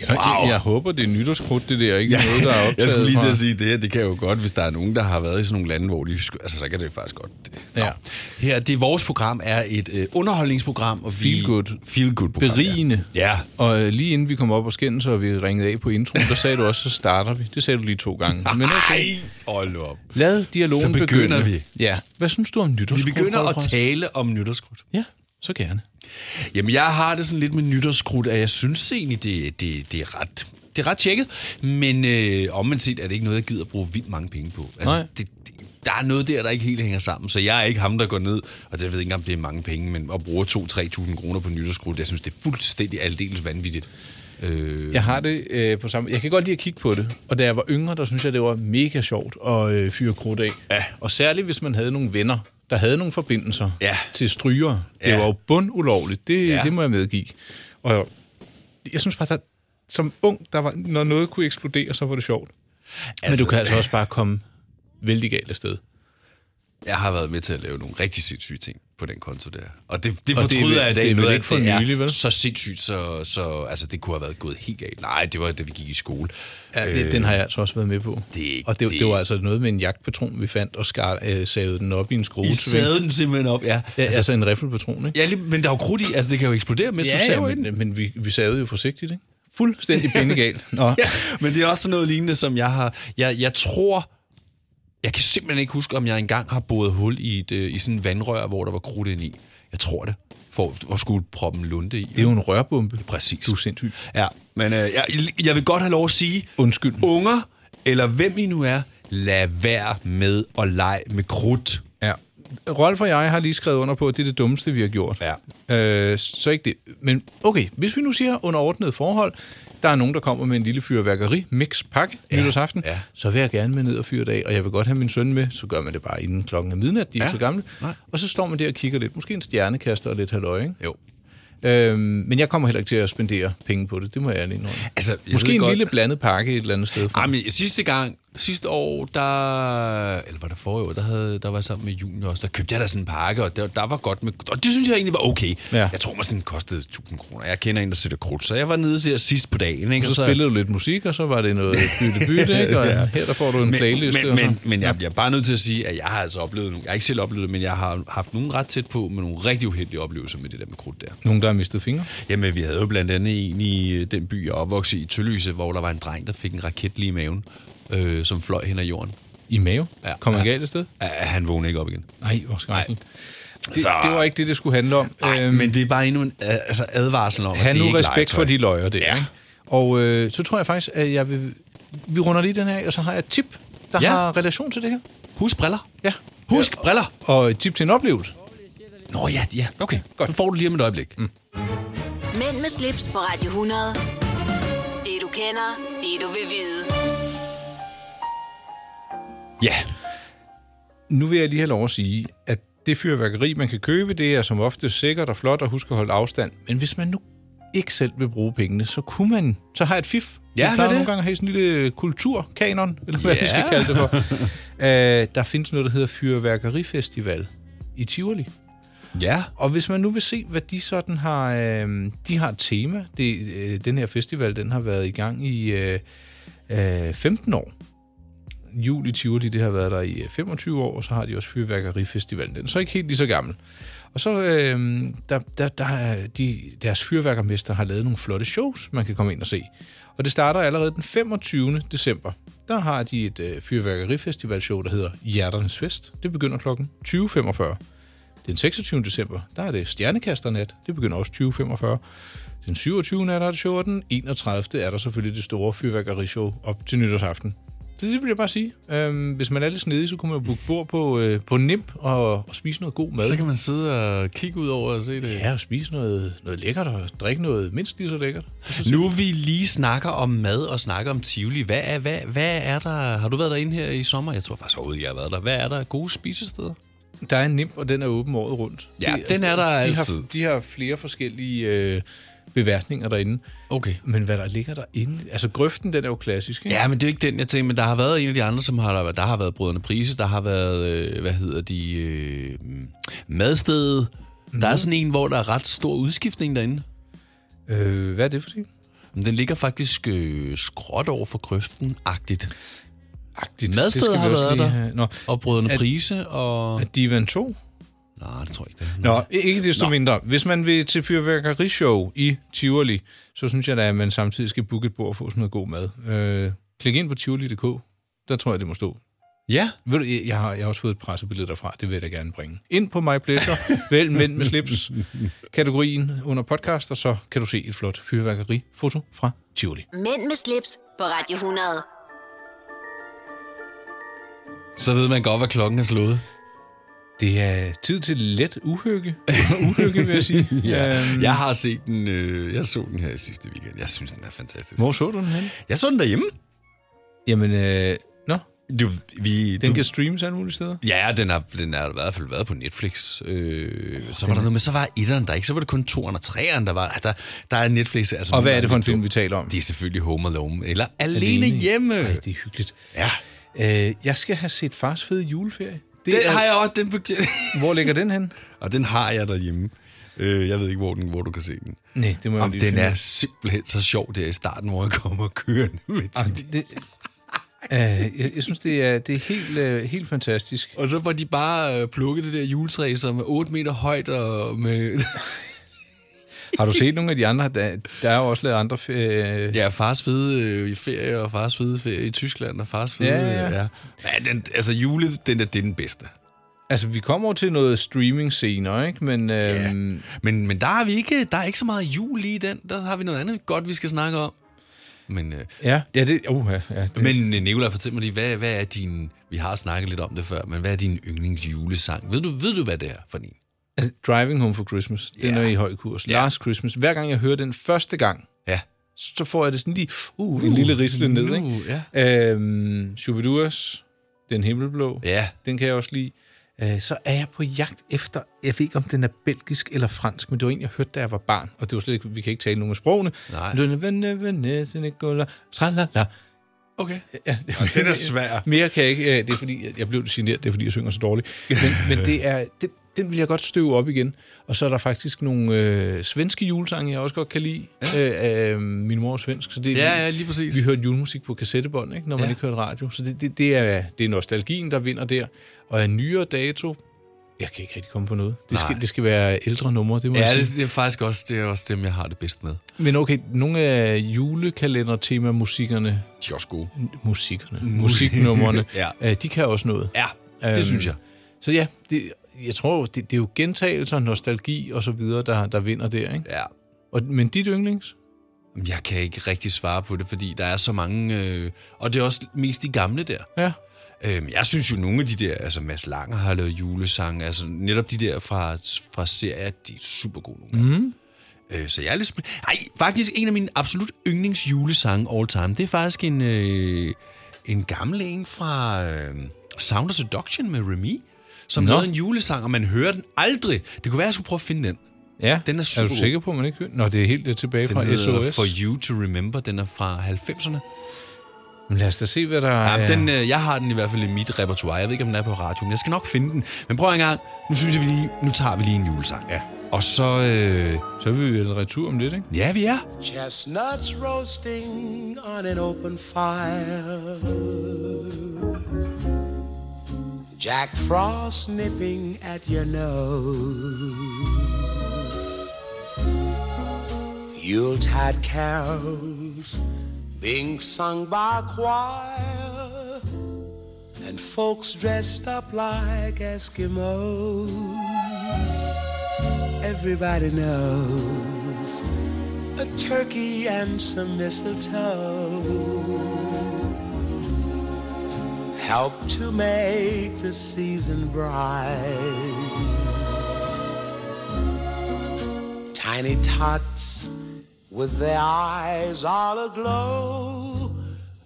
Jeg, wow. jeg håber, det er nytårskrudt, det der. Ikke ja, noget, der er optaget
jeg skulle lige til
fra-
at sige, det her, det kan jo godt, hvis der er nogen, der har været i sådan nogle lande, hvor de... sku- Altså, så kan det faktisk godt. Nå.
Ja.
Her, det vores program er et øh, underholdningsprogram, og vi...
Feel good.
Feel good program,
Berigende.
Ja. ja.
Og øh, lige inden vi kom op og skændte, og vi ringede af på introen, der sagde du også, så starter vi. Det sagde du lige to gange. Men
Ej,
okay,
hold nu op.
lad dialogen
Så begynder
begynde.
vi.
Ja. Hvad synes du om
Vi
nytårskrudt?
begynder
Rolf
at
Rasmussen?
tale om nytårskrudt.
Ja, så gerne.
Jamen, jeg har det sådan lidt med nytårskrudt, at jeg synes egentlig, det, det, det er ret... Det er ret tjekket, men øh, omvendt set er det ikke noget, jeg gider at bruge vildt mange penge på. Altså,
Nej.
Det, det, der er noget der, der ikke helt hænger sammen, så jeg er ikke ham, der går ned, og det ved jeg ikke, om det er mange penge, men at bruge 2-3.000 kroner på nytårskrudt, jeg synes, det er fuldstændig aldeles vanvittigt. Øh,
Jeg har det øh, på samme Jeg kan godt lide at kigge på det. Og da jeg var yngre, der synes jeg, det var mega sjovt at øh, fyre krudt af. Ja. Og særligt, hvis man havde nogle venner, der havde nogle forbindelser
Ja.
til stryger. Det
Ja.
var jo bundulovligt. Det,
Ja.
ja. det må jeg medgive. Og jeg synes bare, der, som ung, der var, når noget kunne eksplodere, så var det sjovt. Altså, Men du kan altså også bare komme vældig galt afsted.
Jeg har været med til at lave nogle rigtig sindssyge ting på den konto der. Og det, det
Og det er
fortryder
vel-
jeg i dag.
det er vel
noget af,
ikke for
det er
nylig, vel?
Så sindssygt, så, så altså, det kunne have været gået helt galt. Nej, det var, da vi gik i skole.
Ja, det, øh, den har jeg altså også været med på.
det er ikke-
og det,
det
det,
er
det var
ikke-
altså noget med en jagtpatron, vi fandt og skar, øh, savede den op i en
I
skruesving.
sad den simpelthen op, ja.
Ja, altså, altså en riffelpatron, ikke?
ja lige, men der er jo krudt i, altså det kan jo eksplodere, mens du saver i den.
men, men vi, vi savede jo forsigtigt, ikke? Fuldstændig bindegalt. Nå.
Ja, men det er også sådan noget lignende, som jeg har... Jeg, jeg tror... Jeg kan simpelthen ikke huske, om jeg engang har boret hul i, et, øh, i sådan en vandrør, hvor der var krudt ind i. Jeg tror det. For at skulle proppen lunde i.
Det er jo en rørbombe.
Præcis.
Du er sindssyg.
Ja, men øh, jeg, jeg vil godt have lov at sige...
Undskyld.
Unger, eller hvem I nu er, lad være med at lege med krudt.
Ja. Rolf og jeg har lige skrevet under på, at det er det dummeste, vi har gjort. Ja. Øh, så ikke det. Men okay, hvis vi nu siger under ordnet forhold, der er nogen, der kommer med en lille fyrværkeri, mix pakke, ja. nytårsaften,
ja.
ja. så vil jeg gerne med ned og fyre det af, og jeg vil godt have min søn med, så gør man det bare inden klokken er midnat, de er ja. så gamle. Nej. Og så står man der og kigger lidt, måske en stjernekaster og lidt halløj, ikke?
Jo.
Øhm, men jeg kommer heller ikke til at spendere penge på det, det må jeg ærligt indrømme.
Altså, jeg
Måske
ved
en
godt-
godt. lille blandet pakke et eller andet sted. fra.
Ej, men sidste gang, sidste år, der, eller var det forrige år, der, havde, der var jeg sammen med Junior også, der købte jeg da sådan en pakke, og der, der var godt med, og det synes jeg egentlig var okay. Ja.
Ja.
Jeg tror mig sådan, den kostede 1000 kroner. Jeg kender en, der sætter krudt, så jeg var nede til sidst på dagen, ikke?
Så spillede du lidt musik, og så var det noget bytte-bytte, ikke? Og her der får du en
men,
playlist.
men,
og så-
men, men jeg, jeg er bare nødt til at sige, at jeg har altså oplevet nogle, jeg har ikke selv oplevet det, men jeg har haft nogle ret tæt på med nogle rigtig uheldige oplevelser med det der med krudt der.
Nogen, der har mistet fingre?
Jamen, vi havde jo blandt andet en i øh, den by, jeg opvoksede i, Tølløse, hvor der var en dreng, der fik en raket lige i maven, øh, som fløj hen ad jorden.
I mave?
Ja,
Ja, Kom man
ja.
galt et sted?
Ah, Han vågnede ikke op igen.
Nej, hvor skrækkeligt. Det,
Så-
det var ikke det, det skulle handle om.
Ej, men det er bare endnu en øh, altså advarsel om,
Han
at det
nu
er ikke
respekt
legetøj.
for de løjer der.
Ja.
Ikke? Og øh, så tror jeg faktisk, at jeg vil... Vi runder lige den her, af, og så har jeg et tip, der
Ja.
ja. har relation til det her.
Husk briller.
Ja.
Husk ja. briller.
Og et tip til en oplevelse.
Nå ja, ja. Okay, godt. Den får du lige om et øjeblik. Mm.
Mænd med slips på Radio 100. Det du kender, det du vil vide.
Ja.
Nu vil jeg lige have lov at sige, at det fyrværkeri, man kan købe, det er som ofte sikkert og flot, og husk at holde afstand. Men hvis man nu ikke selv vil bruge pengene, så kunne man... Så har jeg et fif. Vi
Ja, hvad er
plejer
det?
nogle gange at have sådan en lille kulturkanon, eller hvad
Ja.
yeah. vi skal kalde det for. øh, der findes noget, der hedder Fyrværkerifestival i Tivoli.
Ja.
Og hvis man nu vil se, hvad de sådan har... Øh, de har et tema. Det, øh, den her festival, den har været i gang i øh, øh, 15 år. Jul i Tivoli, det har været der i øh, 25 år, og så har de også Fyrværkerifestivalen. Den er så ikke helt lige så gammel. Og så øh, der, der, der, er de, deres fyrværkermester har lavet nogle flotte shows, man kan komme ind og se. Og det starter allerede den 25. december. Der har de et øh, fyrværkerifestivalshow, der hedder Hjerternes Fest. Det begynder kl. 20.45. Den 26. december, der er det Stjernekasternat. Det begynder også 20.45. Den 27. er der et show, og den 31. er der selvfølgelig det store fyrværkerishow op til nytårsaften. Så det vil jeg bare sige. Øhm, hvis man er lidt snedig, så kunne man jo booke bord på, øh, på NIMP og, og spise noget god mad.
man sidde og kigge ud over og se det.
Øh, Ja, og spise noget, noget lækkert og drikke noget mindst lige så lækkert.
Nu vi lige snakker om mad og snakker om Tivoli. Hvad er, hvad, hvad er der? Har du været derinde her i sommer? Jeg tror faktisk overhovedet, jeg har været der. Hvad er der af gode spisesteder?
Der er en nimp, og den er åben året rundt.
Ja, den er der
de
altid.
Har, de har flere forskellige øh, beværtninger derinde.
Okay.
Men hvad der ligger derinde... Altså, grøften, den er jo klassisk, ikke?
Ja, men det er jo ikke den, jeg tænker, men der har været en af de andre, som har, der, der har været Brødrene Prise, der har været, øh, hvad hedder de, øh, Madstedet. Mm. Der er sådan en, hvor der er ret stor udskiftning derinde.
Øh, hvad er det for det?
Men Den ligger faktisk øh, skråt over for grøften-agtigt.
Agtigt.
Madstedet har været der.
Have. Nå,
Og Brødrene
Er-
Prise og...
er Divan 2?
Nej, det tror jeg ikke, det er.
Nå, ikke desto
Nå.
Nå. mindre. Hvis man vil til fyrværkerishow i Tivoli, så synes jeg da, at man samtidig skal booke et bord og få sådan noget god mad. Øh, klik ind på tivoli.dk. Der tror jeg, det må stå.
Ja,
Ved du, jeg- jeg har, jeg har også fået et pressebillede derfra, det vil jeg da gerne bringe. Ind på My Pleasure, vælg Mænd med slips, kategorien under podcast, og så kan du se et flot fyrværkeri-foto fra Tivoli.
Mænd med slips på Radio 100.
så ved man godt, hvad klokken er slået.
Det er tid til let uhygge, uhygge vil jeg sige.
Ja.
Øhm,
Jeg har set den, øh, jeg så den her i sidste weekend. Jeg synes, den er fantastisk.
Hvor så du den henne?
Jeg så den derhjemme.
Jamen, øh, nå,
Du, vi,
Den
du,
kan streames alle mulige steder.
Ja, den har, den har i hvert fald været på Netflix. Øh, så var der noget, men så var etteren der ikke. Så var det kun toeren og treeren, der var. Der, der er Netflix. Altså,
Og hvad er det for en
lidt
film,
dum.
vi taler om?
Det er selvfølgelig Home Alone. Eller Alene, Hjemme.
Ej, det er hyggeligt.
Ja,
Øh, jeg skal have set Fars Fede Juleferie. Det
den
er- altså-
har jeg også. Den be-
Hvor ligger den hen?
og den har jeg derhjemme. Øh, jeg ved ikke, hvor, den, hvor du kan se den.
Nej, det må jeg
Om
lige
den
finde ud
er
af.
simpelthen så sjov der i starten, hvor jeg kommer kørende med
Ej,
til
Ah, det, det, øh, jeg, jeg synes, det er, det er helt, øh, helt fantastisk.
Og så får de bare øh, plukket det der juletræ, som er 8 meter højt og med...
Har du set nogle af de andre? Der, der er jo også lavet andre... Øh,
Ja, fars fede øh, i ferie, og fars fede ferie i Tyskland, og fars fede...
Ja, ja.
øh, ja. ja den, altså, jule, den, er, det er den bedste.
Altså, vi kommer over til noget streaming senere, ikke? Men øh,
Ja. Men, men der, er vi ikke, der er ikke så meget jul i den. Der har vi noget andet godt, vi skal snakke om. Men, øh,
ja, ja, det, uh, ja, det,
men øh, Nicolaj, fortæl mig lige, hvad, hvad er din... Vi har snakket lidt om det før, men hvad er din yndlingsjulesang? Ved du, ved du hvad det er for en?
Altså, Driving Home for Christmas, den
Ja.
er i høj kurs.
Ja.
Last Christmas, hver gang jeg hører den første gang,
Ja.
så får jeg det sådan lige, uh, en lille risle ned, ikke?
Uh, ja.
Øhm, Shubiduas, Den Himmelblå,
Ja.
den kan jeg også lide. Øh, så er jeg på jagt efter, jeg ved ikke om den er belgisk eller fransk, men det var en, jeg hørte, da jeg var barn, og det var slet ikke, vi kan ikke tale nogen af sprogene.
Nej.
Men det var, "Venne, venne, Senegola, tralala."
Okay.
Ja,
Den er svær.
Mere kan jeg ikke. øh, Det er fordi, jeg- jeg blev generet, det er fordi, jeg synger så dårligt. Men, men det er, det, den vil jeg godt støve op igen. Og så er der faktisk nogle øh, svenske julesange, jeg også godt kan lide. Ja. Øh, øh, min mor er svensk, så det,
Ja,
vi-
ja, lige præcis.
vi hørte julemusik på kassettebånd, ikke, når man
Ja.
ikke hørte radio. Så det, det, det, er, det er nostalgien, der vinder der. Og af nyere dato, jeg kan ikke rigtig komme på noget. Det skal,
Nej.
det skal være ældre numre, det må
Ja,
jeg
det,
sige.
det er faktisk også, det er også dem, jeg har det bedst med.
Men okay, nogle af julekalender-tema-musikkerne,
De er også gode.
musikkerne, musiknumrene,
Ja.
øh, de kan også noget.
Ja, det
Øhm,
synes jeg.
Så ja, det, jeg tror, det, det er jo gentagelser, nostalgi og så videre, der, der vinder der, ikke?
Ja.
Og, men dit yndlings?
Jeg kan ikke rigtig svare på det, fordi der er så mange... Øh, og det er også mest de gamle der.
Ja.
Øhm, jeg synes jo, nogle af de der... Altså, Mads Langer har lavet julesange. Altså, netop de der fra, fra serier, de er super gode nogle gange.
Mhm.
Mm. Øh, så jeg er lidt... spæ- Ej, faktisk en af mine absolut yndlingsjulesange all time, det er faktisk en, øh, en gammel en fra øh, Sound of Seduction med Remy, som
Nå.
lavede en julesang, og man hører den aldrig. Det kunne være, jeg skulle prøve at finde den.
Ja,
Den er
er
super
du sikker på, at man ikke hører? Nå, det er helt øh, tilbage
Den
fra
hedder
SOS.
For You to Remember, den er fra 90'erne.
Men lad os da se, hvad der
Ja,
er.
den, øh, jeg har den i hvert fald i mit repertoire. Jeg ved ikke, om den er på radio, men jeg skal nok finde den. Men prøv en gang. Nu synes jeg, vi lige, nu tager vi lige en julesang.
Ja.
Og så... Øh,
Så er vi vel retur om lidt, ikke?
ja, vi er.
Chestnuts roasting on an open fire. Jack Frost nipping at your nose. Yuletide carols being sung by a choir. And folks dressed up like Eskimos. Everybody knows a turkey and some mistletoe help to make the season bright. Tiny tots with their eyes all aglow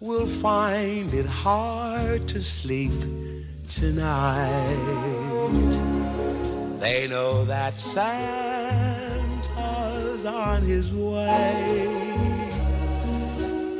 will find it hard to sleep tonight. They know that Santa's on his way.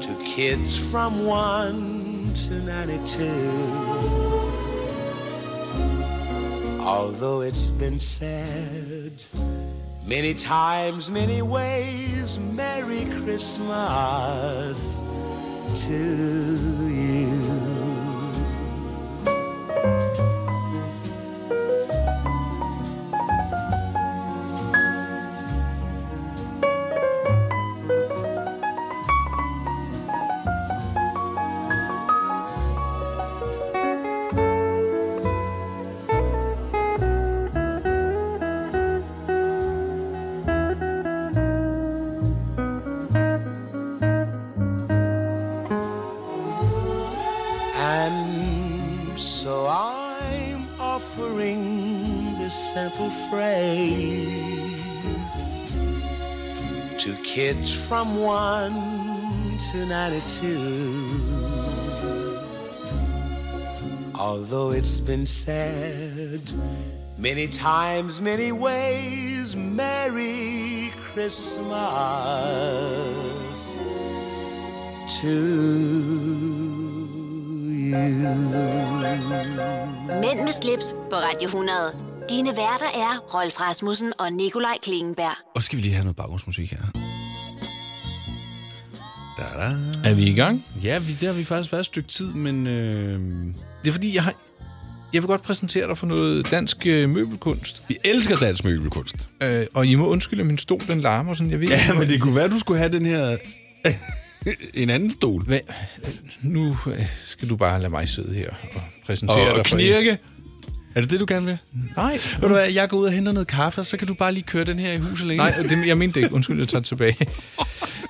to kids from 1 to 92. Although it's been said many times, many ways, Merry Christmas to you. And so I'm offering this simple phrase to kids from 1 to 92. Although it's been said many times, many ways, Merry Christmas to you.
Mænd med slips på Radio 100. Dine værter er Rolf Rasmussen og Nikolaj Klingenberg.
Og skal vi lige have noget baggrundsmusik her. Da -da.
Er vi i gang?
Ja, vi, der har vi faktisk været et stykke tid, men... Øh,
Det er fordi, jeg har... Jeg vil godt præsentere dig for noget dansk øh, møbelkunst.
vi elsker dansk møbelkunst.
Øh, og I må undskylde, at min stol den larmer sådan. Jeg ved ikke,
men det kunne være, du skulle have den her... en anden stol.
Hvad? Nu øh, skal du bare lade mig sidde her og præsentere
Og,
dig
og
for en-
knirke. Er det det, du gerne vil?
Nej,
Ved du hvad, jeg går ud og henter noget kaffe, og så kan du bare lige køre den her i hus alene.
nej det, jeg mente det ikke. Undskyld, jeg tager det tilbage.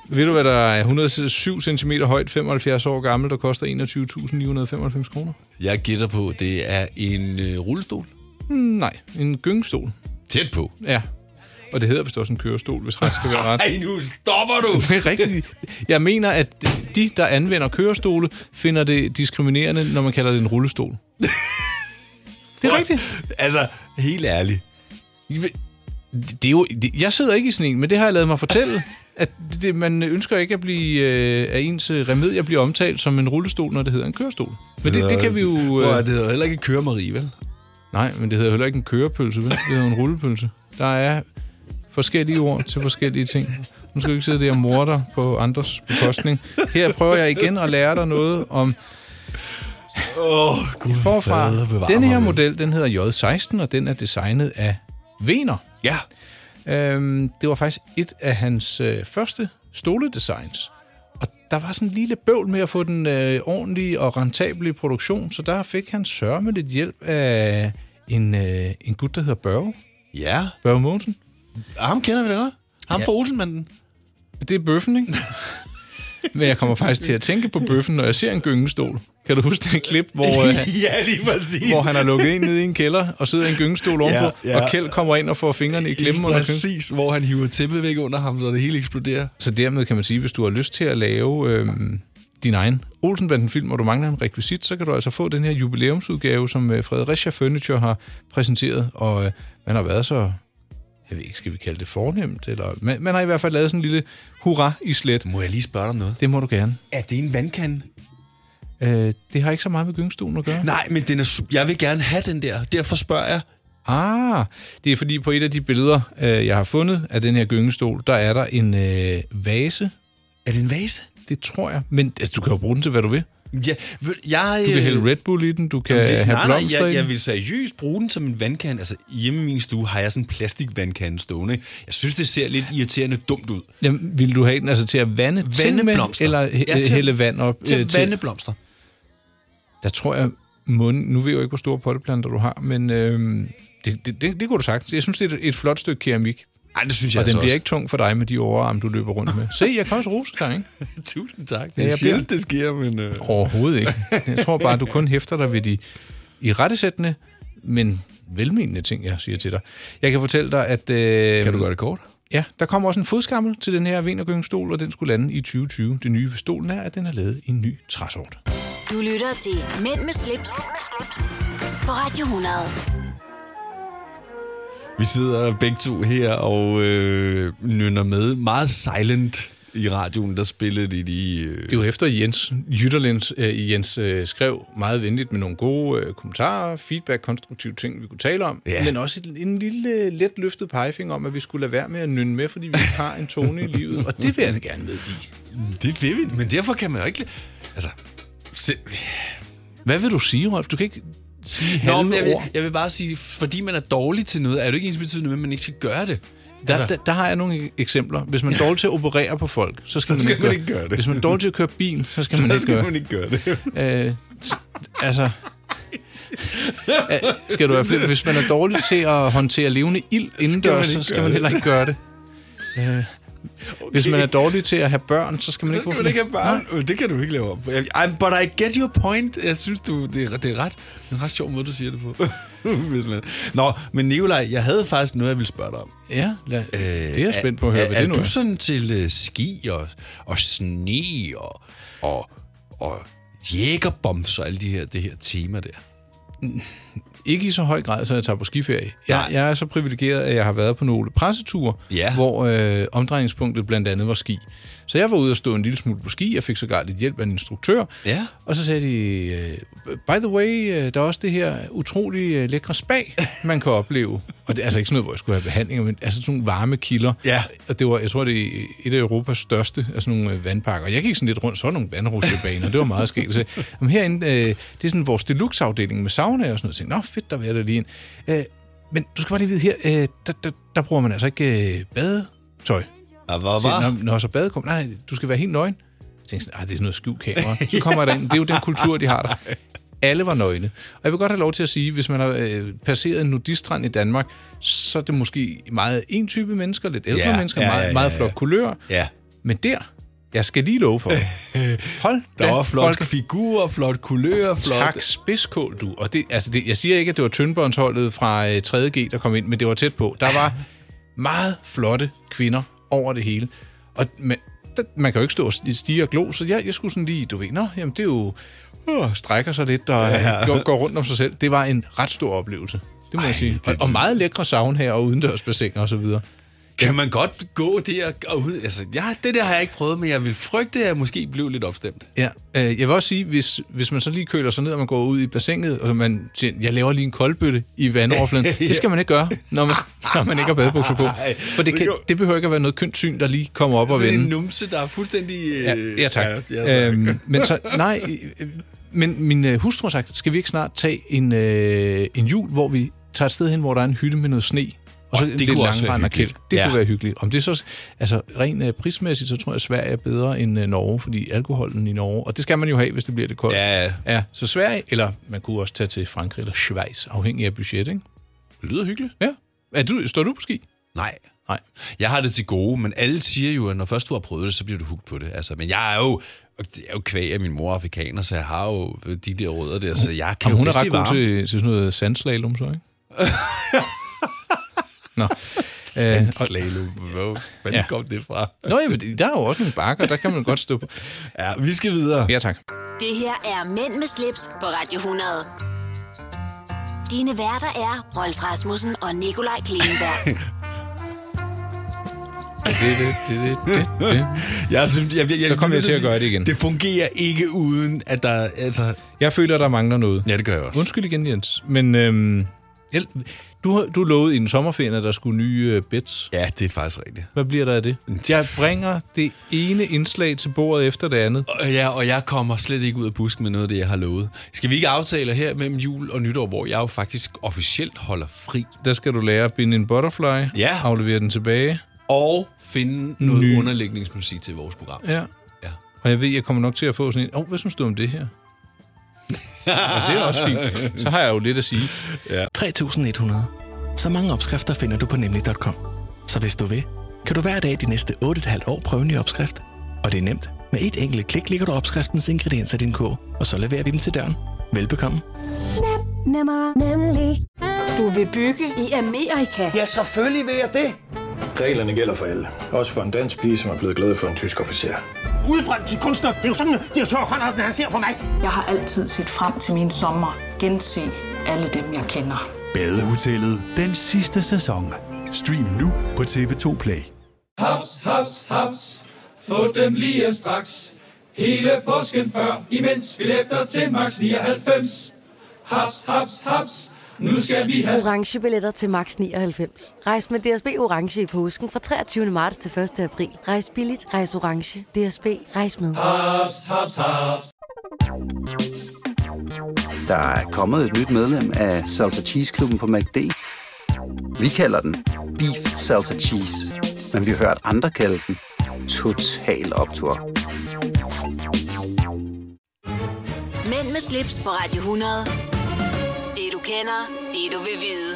Ved du, hvad der er 107 cm højt, 75 år gammel, der koster 21.995 kroner?
Jeg gætter på, det er en øh, rullestol.
Nej, en gyngestol.
Tæt på.
Ja. Og det hedder vist også en kørestol, hvis ret skal være ret.
Ej, nu stopper du!
Det er rigtigt. Jeg mener, at de, der anvender kørestole, finder det diskriminerende, når man kalder det en rullestol. Det er rigtigt.
altså, helt ærligt.
Det er jo, det, jeg sidder ikke i sådan en, men det har jeg lavet mig fortælle, at det, man ønsker ikke at blive øh, af ens øh, remedier bliver omtalt som en rullestol, når det hedder en kørestol. Men det, det kan vi jo...
Prøv,
Øh,
at, det hedder heller ikke køre Marie, vel?
nej, men det hedder heller ikke en kørepølse, vel? det hedder en rullepølse. Der er forskellige ord til forskellige ting. Nu skal du ikke sidde der og morder på andres bekostning. Her prøver jeg igen at lære dig noget om
Åh, oh, gud
forfra.
fader, bevar
Denne her
mig vel.
model, den hedder J16, og den er designet af Vener.
Ja.
Øhm, det var faktisk et af hans øh, første stoledesigns. Og der var sådan en lille bøvl med at få den øh, ordentlige og rentable i produktion, så der fik han sørme lidt hjælp af en, øh, en gut, der hedder Børge.
Ja.
Børge Mogensen.
Og ham kender vi da godt. Ham ja. fra Olsenmanden.
Det er bøffen, ikke? Men jeg kommer faktisk til at tænke på bøffen, når jeg ser en gyngestol. Kan du huske det klip, hvor, øh,
ja, lige præcis.
hvor han er lukket ind nede i en kælder og sidder i en gyngestol ovenpå, ja,
ja.
ja. og Kjeld kommer ind og får fingrene i klemmen under køkken?
Præcis, hvor han hiver tæppet væk under ham, så det hele eksploderer.
Så dermed kan man sige, hvis du har lyst til at lave øh, din egen Olsenbanden-film, og du mangler en rekvisit, så kan du altså få den her jubilæumsudgave, som øh, Fredericia Furniture har præsenteret, og øh, man har været så, jeg ved ikke, skal vi kalde det fornemt, eller man, man har i hvert fald lavet sådan en lille hurra i slet.
Må jeg lige spørge dig om noget?
Det må du gerne.
Er det en vandkande?
Øh, det har ikke så meget med gyngstolen at gøre.
Nej, men den er su- jeg vil gerne have den der. Derfor spørger jeg.
Ah, det er fordi på et af de billeder, øh, jeg har fundet af den her gyngestol, der er der en øh, vase.
Er det en vase?
Det tror jeg. Men altså, du kan jo bruge den til, hvad du vil.
Ja, ved- jeg...
Du kan
øh,
hælde Red Bull i den, du kan
Jamen, det-
have
nej, nej,
blomster
jeg,
i den.
jeg vil seriøst bruge den som en vandkande. Altså, hjemme i min stue har jeg sådan en plastikvandkande stående. Jeg synes, det ser lidt irriterende dumt ud.
Jamen, vil du have den altså til at vande,
Vande
ting med,
blomster.
eller hæ-
Ja, til-
hælde vand op?
Til
øh,
at vande blomster.
Der tror jeg, munden, nu ved jeg jo ikke, hvor store potteplanter du har, men øhm, det, det, det, det kunne du sagt. Jeg synes, det er et, et flot stykke keramik,
Ej, det synes jeg
og den
altså
bliver ikke tung for dig med de overarm, du løber rundt med. Se, jeg kan også rose dig, ikke?
ikke... Tusind tak.
Ja, jeg
sjældent, det sker, men... Øh...
Overhovedet ikke. Jeg tror bare, du kun hæfter dig ved de i rettesættende, men velmenende ting, jeg siger til dig. Jeg kan fortælle dig, at... Øh,
Kan du gøre det kort?
Ja, der kommer også en fodskammel til den her Venergyngstol, og den skulle lande i 2020. Det nye ved stolen er, at den er lavet i en ny træsort.
Du lytter til Mænd med slips, Mænd med slips. på Radio 100.
Vi sidder begge to her og øh, nynner med meget silent i radioen, der spillede de lige... Øh...
Det er jo efter Jens Jytterlens, øh, Jens øh, skrev meget venligt med nogle gode øh, kommentarer, feedback, konstruktive ting, vi kunne tale om,
Ja.
ja. men også en, en lille let løftet pegefinger om, at vi skulle lade være med at nynne med, fordi vi ikke har en tone i livet, og det vil jeg gerne med i.
Det vil vi, men derfor kan man jo ikke... li- Altså... Se...
Hvad vil du sige, Rolf? Du kan ikke sige halve
Nå, men jeg, vil,
ord.
jeg vil bare sige, fordi man er dårlig til noget, er det ikke ens betydende med, at man ikke skal gøre det.
Der, altså, der, der har jeg nogle eksempler. Hvis man er dårlig til at operere på folk, så skal,
skal
man,
man
ikke,
ikke gøre det.
Hvis man er dårlig til at køre bil, så skal man
så
ikke
skal
gøre
man ikke gøre det.
Øh, t- altså... Ja, skal du have flere? Hvis man er dårlig til at håndtere levende ild indendørs, så
ikke
skal
gøre
man
det.
heller ikke gøre det. Okay. Hvis man er dårlig til at have børn, så skal man
Så
ikke få flere.
skal man ikke have
Nej.
børn. Ja. Det kan du ikke lave om. på. Jeg- I, but I get your point. Jeg synes, du, det, er, det er ret, en ret sjov måde, du siger det på. Hvis man- Nå, men Nikolaj, jeg havde faktisk noget, jeg ville spørge dig om.
Ja, lad, øh, det er jeg spændt på at høre,
er,
hvad det
er
nu
du
er.
sådan til uh, ski og, og sne og, og, og jægerbombs og alle de her, det her tema der?
Ikke i så høj grad, så jeg tager på skiferie. Jeg,
Nej.
jeg er så privilegeret, at jeg har været på nogle presseture,
Ja.
hvor øh, omdrejningspunktet blandt andet var ski. Så jeg var ude og stå en lille smule på ski. Jeg fik sågar lidt hjælp af en instruktør.
Ja.
Og så sagde de, øh, by the way, øh, der er også det her utrolig øh, lækre spag, man kan opleve. Og det er altså ikke sådan noget, hvor jeg skulle have behandlinger, men altså sådan nogle varme kilder.
Ja.
Og det var, jeg tror, det er et af Europas største af sådan nogle øh, vandparker. Og jeg gik sådan lidt rundt, så var nogle vandrusjebaner, det var meget skægt. Så, jamen herinde, øh, det er sådan vores deluxe-afdeling med sauna og sådan noget. Så, Nå, fedt, der vil jeg da lige ind. Øh, men du skal bare lige vide her, øh, der, der, der bruger man altså ikke øh, badetøj.
Og hvor
Så,
var?
når, når så badekum, nej, nej, du skal være helt nøgen. Jeg tænkte sådan, "Ej, det er sådan noget skjult kamera. Så kommer jeg derind, det er jo den kultur, de har der. Alle var nøgne. Og jeg vil godt have lov til at sige, hvis man har øh, passeret en nudistrand i Danmark, så er det måske meget en type mennesker, lidt ældre
Ja,
mennesker,
ja,
meget,
ja, ja,
meget
ja.
flot kulør.
Ja.
Men der, jeg skal lige love for, hold
Der
da,
var flot
folk
figurer, flot kulør, flot...
Tak, spidskål, du. Og det, altså det, jeg siger ikke, at det var Tyndbåndsholdet fra øh, 3.G, der kom ind, men det var tæt på. Der var meget flotte kvinder over det hele. Og man, der, man kan jo ikke stå og sti- stige og glo, så jeg, jeg skulle sådan lige, du ved, nå, jamen det er jo... Uh, strækker sig lidt og ja. går, går rundt om sig selv. Det var en ret stor oplevelse, det må Ej, jeg sige. Og, og meget lækre savn her og udendørsbassiner og så videre.
Kan man godt gå der og ud? Altså, ja, det der har jeg ikke prøvet, men jeg vil frygte, at jeg måske blev lidt opstemt.
Ja, øh, jeg vil også sige, hvis, hvis man så lige køler sig ned, og man går ud i bassinet, og så man siger, jeg laver lige en koldbøtte i vandoverfladen, det skal man ikke gøre, når man, når man ikke har badebukser på. For det, kan, det behøver ikke at være noget kønt syn, der lige kommer op og
Sådan Altså, en
vende.
numse, der er fuldstændig... øh,
Ja, ja tak.
Ja, ja, tak.
Øhm, men så, nej, øh, men min øh, hustru har sagt, skal vi ikke snart tage en, øh, en jul, hvor vi tager et sted hen, hvor der er en hytte med noget sne, og så
Og det
lidt
kunne også være
langrend og
hyggeligt.
kælk. Det
Ja.
kunne være hyggeligt. Om det så, altså, rent øh, prismæssigt, så tror jeg, at Sverige er bedre end øh, Norge, fordi alkoholen i Norge, og det skal man jo have, hvis det bliver det koldt.
Ja, ja.
ja. Så Sverige, eller man kunne også tage til Frankrig eller Schweiz, afhængig af budget, ikke?
Det lyder hyggeligt.
Ja. Er du, står du på ski?
Nej.
Nej.
Jeg har det til gode, men alle siger jo, at når først du har prøvet det, så bliver du hooked på det. Altså, men jeg er jo... Og det er jo kvæg af min mor er afrikaner, så jeg har jo de der rødder der, så jeg kan
Jamen,
jo
hun er ret
bedst lide
god
varme.
til, til sådan noget sandslalom, så, ikke? Nå. Øh, og,
Slalom. Hvor fanden
Ja.
kom det fra?
Nå, jamen, der er jo også nogle bakker, der kan man godt stå på.
Ja, vi skal videre.
Ja, tak.
Det her er Mænd med slips på Radio 100. Dine værter er Rolf Rasmussen og Nikolaj Klingenberg.
Det, det, det, det, det, det.
Jeg, synes, jeg, jeg, jeg,
Så kom jeg
nødt
til at gøre det igen.
Det fungerer ikke uden, at der... Altså,
Jeg føler, der mangler noget.
ja, det gør jeg også.
Undskyld igen, Jens. Men øhm, El- du, har- du lovede i den sommerferie, at der skulle nye øh, bets.
Ja, det er faktisk rigtigt.
Hvad bliver der af det? Jeg bringer det ene indslag til bordet efter det andet.
Og- Ja, og jeg kommer slet ikke ud af busken med noget af det, jeg har lovet. Skal vi ikke aftale her mellem jul og nytår, hvor jeg jo faktisk officielt holder fri
Der skal du lære at binde en butterfly,
Ja.
aflevere den tilbage.
og finde noget
Ny.
underlægningsmusik til vores program?
Ja.
Ja.
Og jeg ved, jeg kommer nok til at få sådan en, åh, oh, hvad synes du om det her? Og det er også fint. Så har jeg jo lidt at sige.
3100. Så mange opskrifter finder du på nemlig.com. Så hvis du vil, kan du hver dag de næste 8,5 år prøve en ny opskrift. Og det er nemt. Med et enkelt klik ligger du opskriftens ingredienser i din kog, og så leverer vi dem til døren. Velbekomme.
Nemmer, nemlig.
Du vil bygge i Amerika?
Ja, selvfølgelig vil jeg det.
Reglerne gælder for alle. Også for en dansk pige, som er blevet glad for en tysk officer.
Udbrændt til kunstner. Det er jo sådan, at de har tørt, han ser på mig.
Jeg har altid set frem til min sommer. Gense alle dem, jeg kender.
Badehotellet. Den sidste sæson. Stream nu på TV2 Play.
Haps, haps, haps. Få dem lige straks. Hele påsken før, imens billetter til max 99. Haps, haps, haps. Nu skal vi have
Orange billetter til max 99. Rejs med DSB Orange i påsken fra 23. marts til 1. april. Rejs billigt, rejs orange. DSB, rejs med.
haps, haps, haps.
Der er kommet et nyt medlem af Salsa Cheese Klubben på MACD. Vi kalder den Beef Salsa Cheese. Men vi har hørt andre kalde den Total Optor.
Mænd med slips på Radio 100. Det du kender, det du vil vide.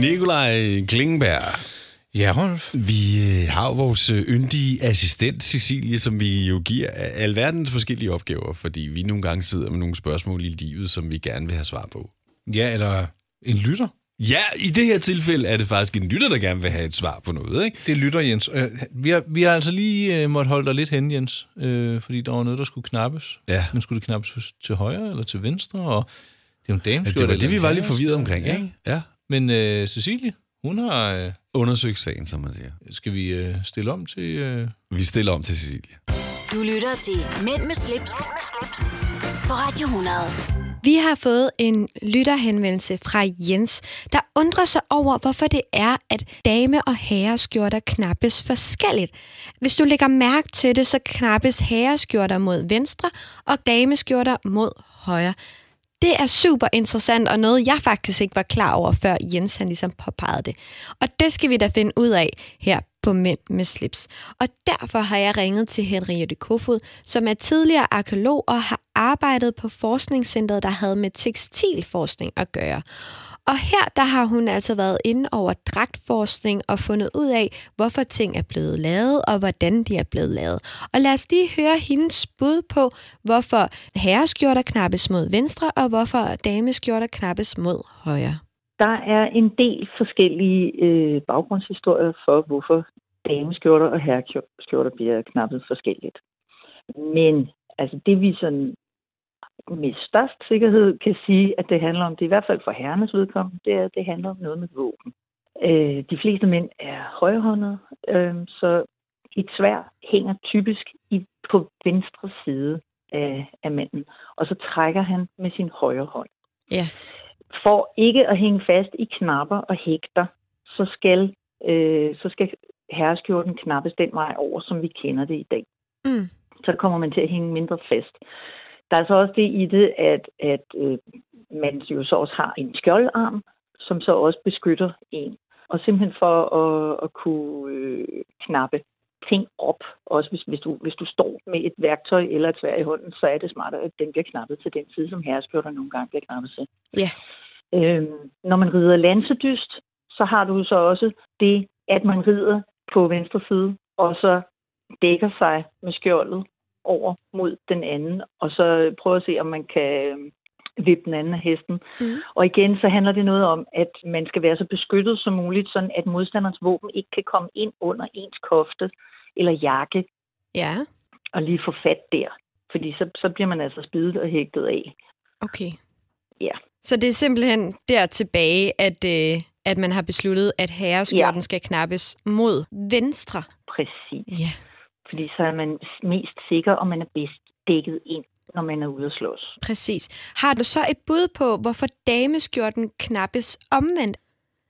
Nikolaj Klingberg.
Ja, Rolf.
Vi øh, har jo vores øh, yndige assistent, Cecilie, som vi jo giver a- alverdens forskellige opgaver, fordi vi nogle gange sidder med nogle spørgsmål i livet, som vi gerne vil have svar på.
Ja, eller en lytter.
Ja, i det her tilfælde er det faktisk en lytter, der gerne vil have et svar på noget, ikke?
Det lytter, Jens. Øh, Vi har, vi har altså lige øh, måtte holde dig lidt hen, Jens, øh, fordi der var noget, der skulle knappes.
Ja.
Men skulle det knappes til højre eller til venstre? Og det er jo en dame,
Ja, det var det, vi var lidt forvirret omkring, ikke? Ja.
Men øh, Cecilie, hun har... Øh,
Undersøg sagen, som man siger.
Skal vi øh, stille om til... Øh...
Vi stiller om til Cecilie.
Du lytter til Mænd med slips, på Radio 100.
Vi har fået en lytterhenvendelse fra Jens, der undrer sig over, hvorfor det er, at dame- og herreskjorter knappes forskelligt. Hvis du lægger mærke til det, så knappes herreskjorter mod venstre og dameskjorter mod højre. Det er super interessant, og noget jeg faktisk ikke var klar over, før Jens han ligesom påpegede det. Og det skal vi da finde ud af her på Mænd med slips. Og derfor har jeg ringet til Henriette Kofod, som er tidligere arkeolog og har arbejdet på forskningscentret, der havde med tekstilforskning at gøre. Og her der har hun altså været inde over dragtforskning og fundet ud af, hvorfor ting er blevet lavet og hvordan de er blevet lavet. Og lad os lige høre hendes bud på, hvorfor herreskjorter knappes mod venstre og hvorfor dameskjorter knappes mod højre.
Der er en del forskellige øh, baggrundshistorier for, hvorfor dameskjorter og herreskjorter bliver knappet forskelligt. Men altså, det vi sådan med størst sikkerhed kan sige, at det handler om, det er i hvert fald for herrenes vedkommende, det er, at det handler om noget med våben. Øh, de fleste mænd er højhåndede, øh, så et svær hænger typisk i, på venstre side af, af manden, og så trækker han med sin højre hånd.
Ja.
For ikke at hænge fast i knapper og hægter, så skal, øh, så skal herreskjorten knappes den vej over, som vi kender det i dag.
Mm.
Så kommer man til at hænge mindre fast. Der er så også det i det, at, at øh, man jo så også har en skjoldarm, som så også beskytter en. Og simpelthen for at, at kunne øh, knappe ting op, også hvis, hvis, du, hvis du står med et værktøj eller et svær i hånden, så er det smartere, at den bliver knappet til den side, som herreskjorter nogle gange bliver knappet til.
Ja.
Øhm, når man rider lansedyst, så har du så også det, at man rider på venstre side, og så dækker sig med skjoldet over mod den anden, og så prøver at se, om man kan øhm, vippe den anden af hesten.
Mm.
Og igen, så handler det noget om, at man skal være så beskyttet som muligt, sådan at modstanderens våben ikke kan komme ind under ens kofte eller jakke
Ja,
og lige få fat der. Fordi så, så bliver man altså spidet og hægtet af.
okay.
Ja.
Så det er simpelthen der tilbage, at, øh, at man har besluttet, at herreskjorten ja. skal knappes mod venstre.
Præcis.
Ja.
Fordi så er man mest sikker, og man er bedst dækket ind, når man er ude at slås.
Præcis. Har du så et bud på, hvorfor dameskjorten knappes omvendt?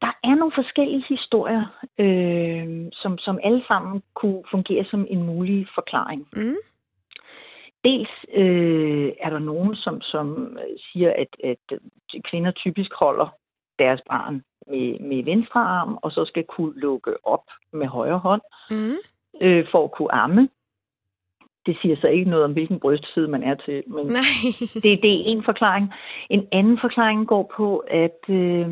Der er nogle forskellige historier, øh, som, som alle sammen kunne fungere som en mulig forklaring.
Mm.
Dels øh, er der nogen, som, som øh, siger, at, at kvinder typisk holder deres barn med, med venstre arm, og så skal kunne lukke op med højre hånd
Mm.
øh, for at kunne amme. Det siger så ikke noget om, hvilken brystside man er til, men
Nej.
det, det er en forklaring. En anden forklaring går på, at øh,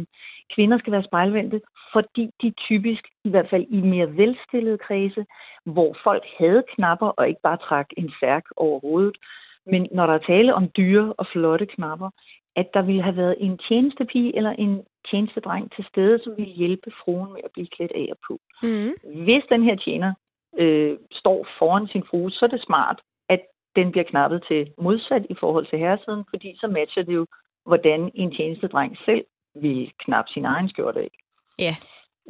kvinder skal være spejlvendte, fordi de typisk, i hvert fald i mere velstillede kredse, hvor folk havde knapper og ikke bare trak en særk over hovedet, men når der er tale om dyre og flotte knapper, at der ville have været en tjenestepige eller en tjenestedreng til stede, som ville hjælpe fruen med at blive klædt af og på.
Mm.
Hvis den her tjener øh, står foran sin frue, så er det smart, at den bliver knappet til modsat i forhold til herresiden, fordi så matcher det jo, hvordan en tjenestedreng selv vil knappe sin egen skjorte af.
Ja.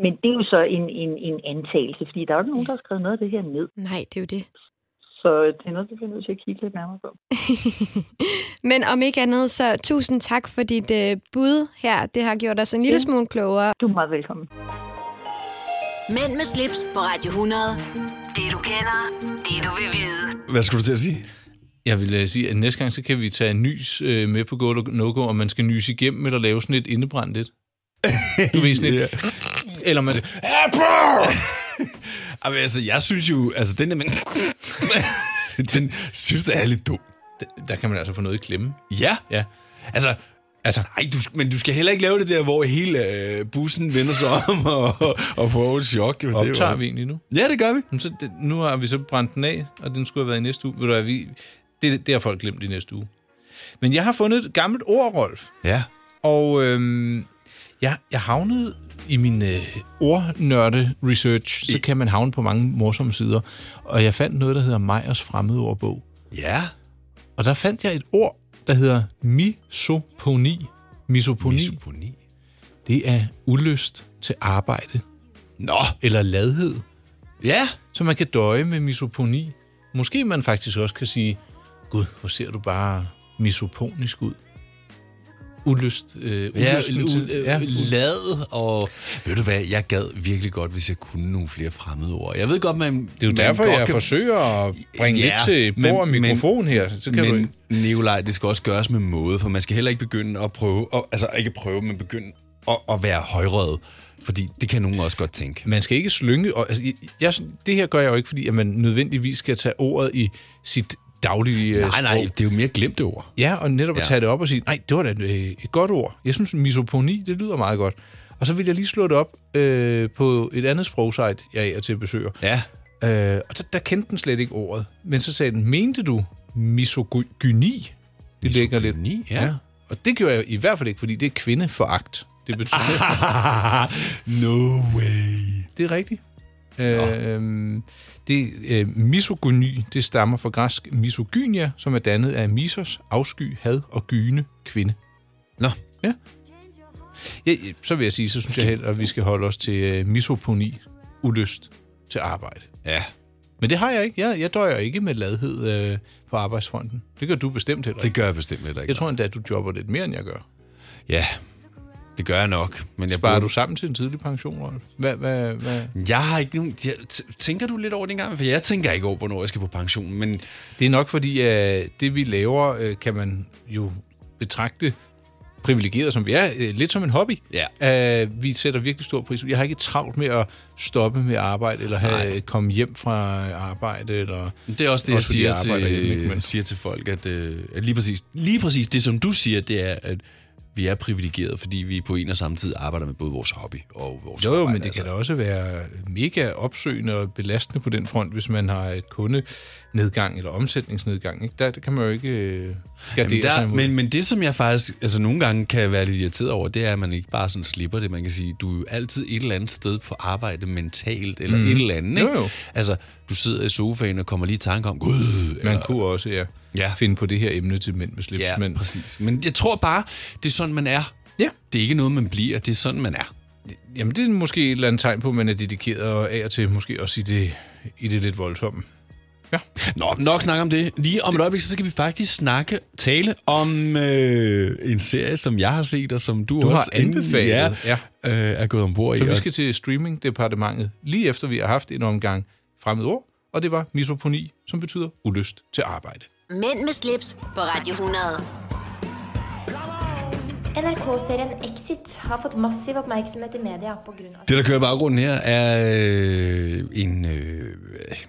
Men det er jo så en, en, en antagelse, fordi der er jo ikke nogen, der har skrevet noget af det her ned.
Nej, det er jo det.
Så det er noget, vi bliver nødt til at kigge lidt nærmere på.
Men om ikke andet, så tusind tak for dit øh, bud her. Det har gjort os en lille smule klogere.
Du er meget velkommen.
Mænd med slips på Radio 100. Det du kender, det du vil vide.
Hvad skulle du til at sige?
Jeg vil øh, sige, at næste gang, så kan vi tage en nys øh, med på Go No Go, og man skal nyse igennem eller lave sådan et indebrændt lidt. Du ved sådan et... Eller man...
Jamen, altså, jeg synes jo, altså, den der man... den synes, det er lidt dum.
Der kan man altså få noget i klemme.
Ja.
Ja.
Altså,
Altså.
Nej, du, men du skal heller ikke lave det der, hvor hele øh, bussen vender sig om og, og får et chok. Jo, det
Optager
var-
vi egentlig nu?
Ja, det gør vi.
Jamen, så det, nu har vi så brændt den af, og den skulle have været i næste uge. Ved du hvad, vi, det, det har folk glemt i næste uge. Men jeg har fundet et gammelt ord, Rolf.
Ja.
Og øhm, jeg, jeg havnede i min øh, ordnørde-research, så kan man havne på mange morsomme sider. Og jeg fandt noget, der hedder Meyers fremmedordbog.
Ja.
Og der fandt jeg et ord, der hedder misoponi. Misoponi.
misoponi.
Det er ulyst til arbejde.
Nå.
Eller ladhed.
Ja.
Så man kan døje med misoponi. Måske man faktisk også kan sige, Gud, hvor ser du bare misoponisk ud. Ulyst. Øh,
Ja,
ulysten
u-
til-
ja, lad og... Ved du hvad, jeg gad virkelig godt, hvis jeg kunne nogle flere fremmede ord. Jeg ved godt, man...
Det er jo
man
derfor,
godt
jeg
kan-
forsøger at bringe lidt til bord og mikrofon her. Så kan
men
men,
Nikolaj, det skal også gøres med måde, for man skal heller ikke begynde at prøve... Og, altså ikke prøve, men begynde at, at være højrøget. Fordi det kan nogen også godt tænke.
man skal ikke slynge. Og, altså, jeg, det her gør jeg jo ikke, fordi at man nødvendigvis skal tage ordet i sit daglige øh,
Nej, nej,
sprog.
det er jo mere glemte ord.
Ja, og netop at
Ja.
tage det op og sige, nej, det var da et, øh, et godt ord. Jeg synes, misoponi, det lyder meget godt. Og så vil jeg lige slå det op øh, på et andet sprogsite, jeg er til besøger.
Ja.
Øh, og der, der kendte den slet ikke ordet. Men så sagde den, mente du misogyni? Det ligger lidt.
ja.
Og det gjorde jeg i hvert fald ikke, fordi det er kvindeforagt. Det
Ah.
betyder...
no way.
Det er rigtigt. Øh, det, øh, misogyni, det stammer fra græsk misogynia, som er dannet af misos, afsky, had og gyne kvinde.
Nå.
Ja. ja ja, så vil jeg sige, så synes jeg heller, at vi skal holde os til øh, misoponi, ulyst til arbejde.
Ja.
Men det har jeg ikke. Jeg, jeg døjer ikke med ladhed øh, på arbejdsfronten. Det gør du bestemt heller ikke.
Det gør jeg bestemt heller ikke.
Jeg tror endda, at du jobber lidt mere, end jeg gør.
Ja, det gør jeg nok. Men jeg
Sparer
bruger-
du sammen til en tidlig pension, Rolf? Hvad, hvad, hvad?
Jeg har ikke nogen... Jeg, t- tænker du lidt over det engang? For jeg tænker ikke over, hvornår jeg skal på pension, men...
Det er nok fordi, at det vi laver, øh, kan man jo betragte privilegeret, som vi er, øh, lidt som en hobby. Ja. Uh, vi sætter virkelig stor pris. på- Jeg har ikke travlt med at stoppe med arbejde, eller have,
Nej.
komme hjem fra arbejde. Eller,
Det er også det, jeg
fordi
siger
arbejder hjemme,
til,
ikke?
men... siger til folk, at, øh, at lige, præcis, lige præcis det, som du siger, det er, at vi er privilegerede, fordi vi på en og samme tid arbejder med både vores hobby og vores
Jo, jo,
arbejde. altså.
men det kan da også være mega opsøgende og belastende på den front, hvis man har øh, kundenedgang eller omsætningsnedgang. Ikke? Der, der kan man jo ikke øh, gardere
Jamen,
sig
der,
imod.
men, men det, som jeg faktisk altså, nogle gange kan være lidt irriteret over, det er, at man ikke bare sådan slipper det. Man kan sige, du er jo altid et eller andet sted på arbejde mentalt, eller
Mm.
mm. et eller andet. Ikke?
Jo, jo.
Altså, du sidder i sofaen og kommer lige i tanke om, gud,
Man kunne også ja,
ja.
finde på det her emne til mænd med slips.
Ja,
men
præcis. Men jeg tror bare, det er sådan, man er.
Ja.
Det er ikke noget, man bliver. Det er sådan, man er.
Jamen, det er måske et eller andet tegn på, at man er dedikeret og af og til måske også i det, i det lidt voldsomme.
Nå, nok snak om det. Lige om et øjeblik, så skal vi faktisk snakke, tale om øh, en serie, som jeg har set, og som du,
Du har
også
anbefalet,
ja,
ja.
Øh, er gået ombord i.
Så vi
og-
skal til streamingdepartementet, lige efter vi har haft en omgang fremmed ord, og det var misoponi, som betyder ulyst til arbejde.
Mænd med slips på Radio 100.
NRK-serien Exit har fått massiv oppmerksomhet i media pga.
Det, der kører i baggrunden her, er øh, en... Øh,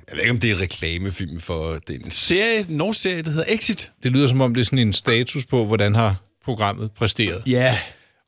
jeg ved ikke, om det er en reklamefilm for den serie, en norsk serie, der hedder Exit.
Det lyder som om, det er sådan en status på, hvordan har programmet præsteret.
Ja.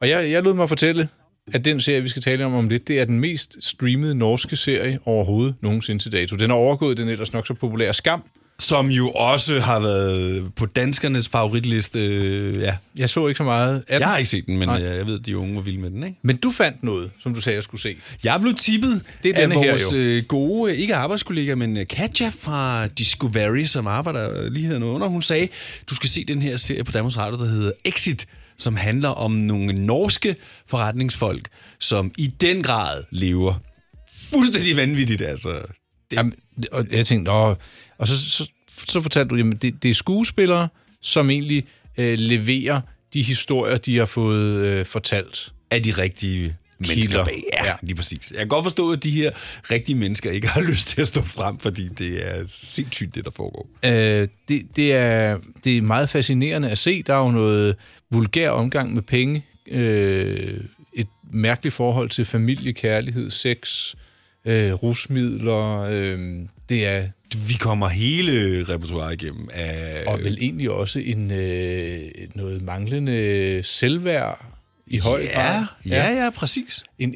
Og jeg, jeg lod mig fortælle, at den serie, vi skal tale om om lidt, det er den mest streamede norske serie overhovedet nogensinde til dato. Den har overgået den ellers nok så populære Skam.
Som jo også har været på danskernes favoritliste. Øh, ja.
Jeg så ikke så meget af den.
Jeg har ikke set den, men øh,
Nej.
jeg, jeg ved, at de unge var vilde med den, ikke?
Men du fandt noget, som du sagde, jeg skulle se.
Jeg blev tippet
Det er denne
af
her,
vores
jo.
øh, gode, øh, ikke arbejdskollega, men øh, Katja fra Discovery, som arbejder øh, lige her under. Hun sagde, du skal se den her serie på Danmarks Radio, der hedder Exit, som handler om nogle norske forretningsfolk, som i den grad lever. Fuldstændig vanvittigt, altså.
Det... Jamen, det- og jeg tænkte, Nå. og så, så, så fortalte du, jamen det, det er skuespillere, som egentlig øh, leverer de historier, de har fået øh, fortalt.
Er de rigtige mennesker bag. Ja, ja, lige præcis. Jeg kan godt forstå, at de her rigtige mennesker ikke har lyst til at stå frem, fordi det er sindssygt, det der foregår.
Øh, det, det, er, det er meget fascinerende at se. Der er jo noget vulgær omgang med penge, øh, et mærkeligt forhold til familie, kærlighed, sex, øh, rusmidler. Øh, det er...
Vi kommer hele repertoireet igennem. Af,
og vel egentlig også en, øh, noget manglende selvværd i høj
Ja,
grad.
ja, ja, præcis.
En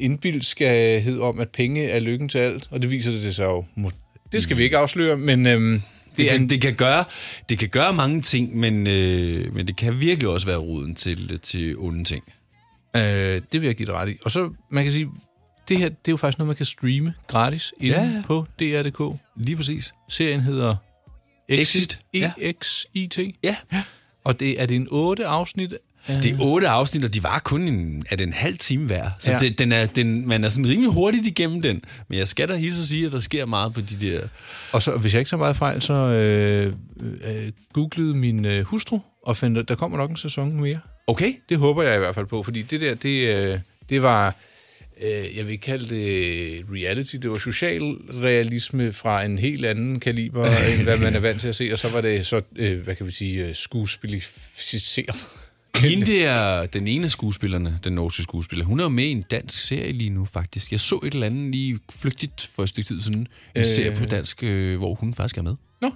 indbildskhed om, at penge er lykken til alt, og det viser det sig jo. mo- Det skal vi ikke afsløre, men... Øhm,
det, kan, det, kan gøre, det kan gøre mange ting, men, øh, men det kan virkelig også være roden til, til onde ting.
Øh, det vil jeg give dig ret i. Og så, man kan sige, det her, det er jo faktisk noget, man kan streame gratis inde
Ja, ja.
ja. på DR.dk.
Lige præcis.
Serien hedder Exit. E
Exit,
E-X-I-T.
Ja.
Og det, er det en otte afsnit?
Det er otte afsnit, og de var kun en, er det en halv time hver. Så ja.
Ja.
det, den er, den, man er sådan rimelig hurtigt igennem den. Men jeg skal da hilse og sige, at der sker meget på de der...
Og så, hvis jeg ikke så meget fejl, så øh, øh, googlede min øh, hustru og fandt, at der kommer nok en sæson mere.
Okay.
Det håber jeg i hvert fald på, fordi det der, det, øh, det var, øh, jeg vil ikke kalde det reality, det var social realisme fra en helt anden kaliber, end hvad man er vant til at se, og så var det så, øh, hvad kan vi sige, øh, skuespilificeret.
Hende der, den ene af skuespillerne, den norske skuespiller, hun er jo med i en dansk serie lige nu, faktisk. Jeg så et eller andet lige flygtigt for et stykke tid siden. En øh...
Øh.
serie på dansk, øh, hvor hun faktisk er med.
Nå.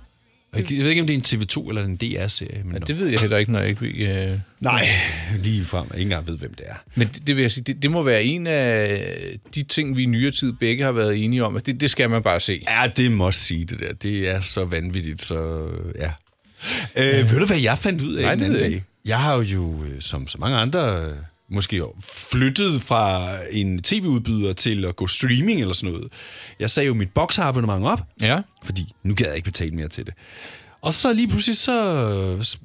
Jeg jeg ved ikke, om det er en TV2 eller en DR-serie. Men ja,
det ved jeg heller ikke, når jeg ikke ved... Øh...
Nej, lige frem. Jeg ikke engang ved, hvem det er.
Men det, det vil jeg sige, det, det må være en af de ting, vi i nyere tid begge har været enige om, at det, det skal man bare se.
Ja, det må sige det der. Det er så vanvittigt, så ja. Øh, ved du, hvad jeg fandt ud af
Nej,
den
det
anden
ved jeg
dag?
ikke.
Jeg har jo, øh, som så mange andre, øh, måske jo flyttet fra en tv-udbyder til at gå streaming eller sådan noget. Jeg sagde jo mit boksabonnement op,
ja.
fordi nu gad jeg ikke betale mere til det. Og så lige pludselig, så,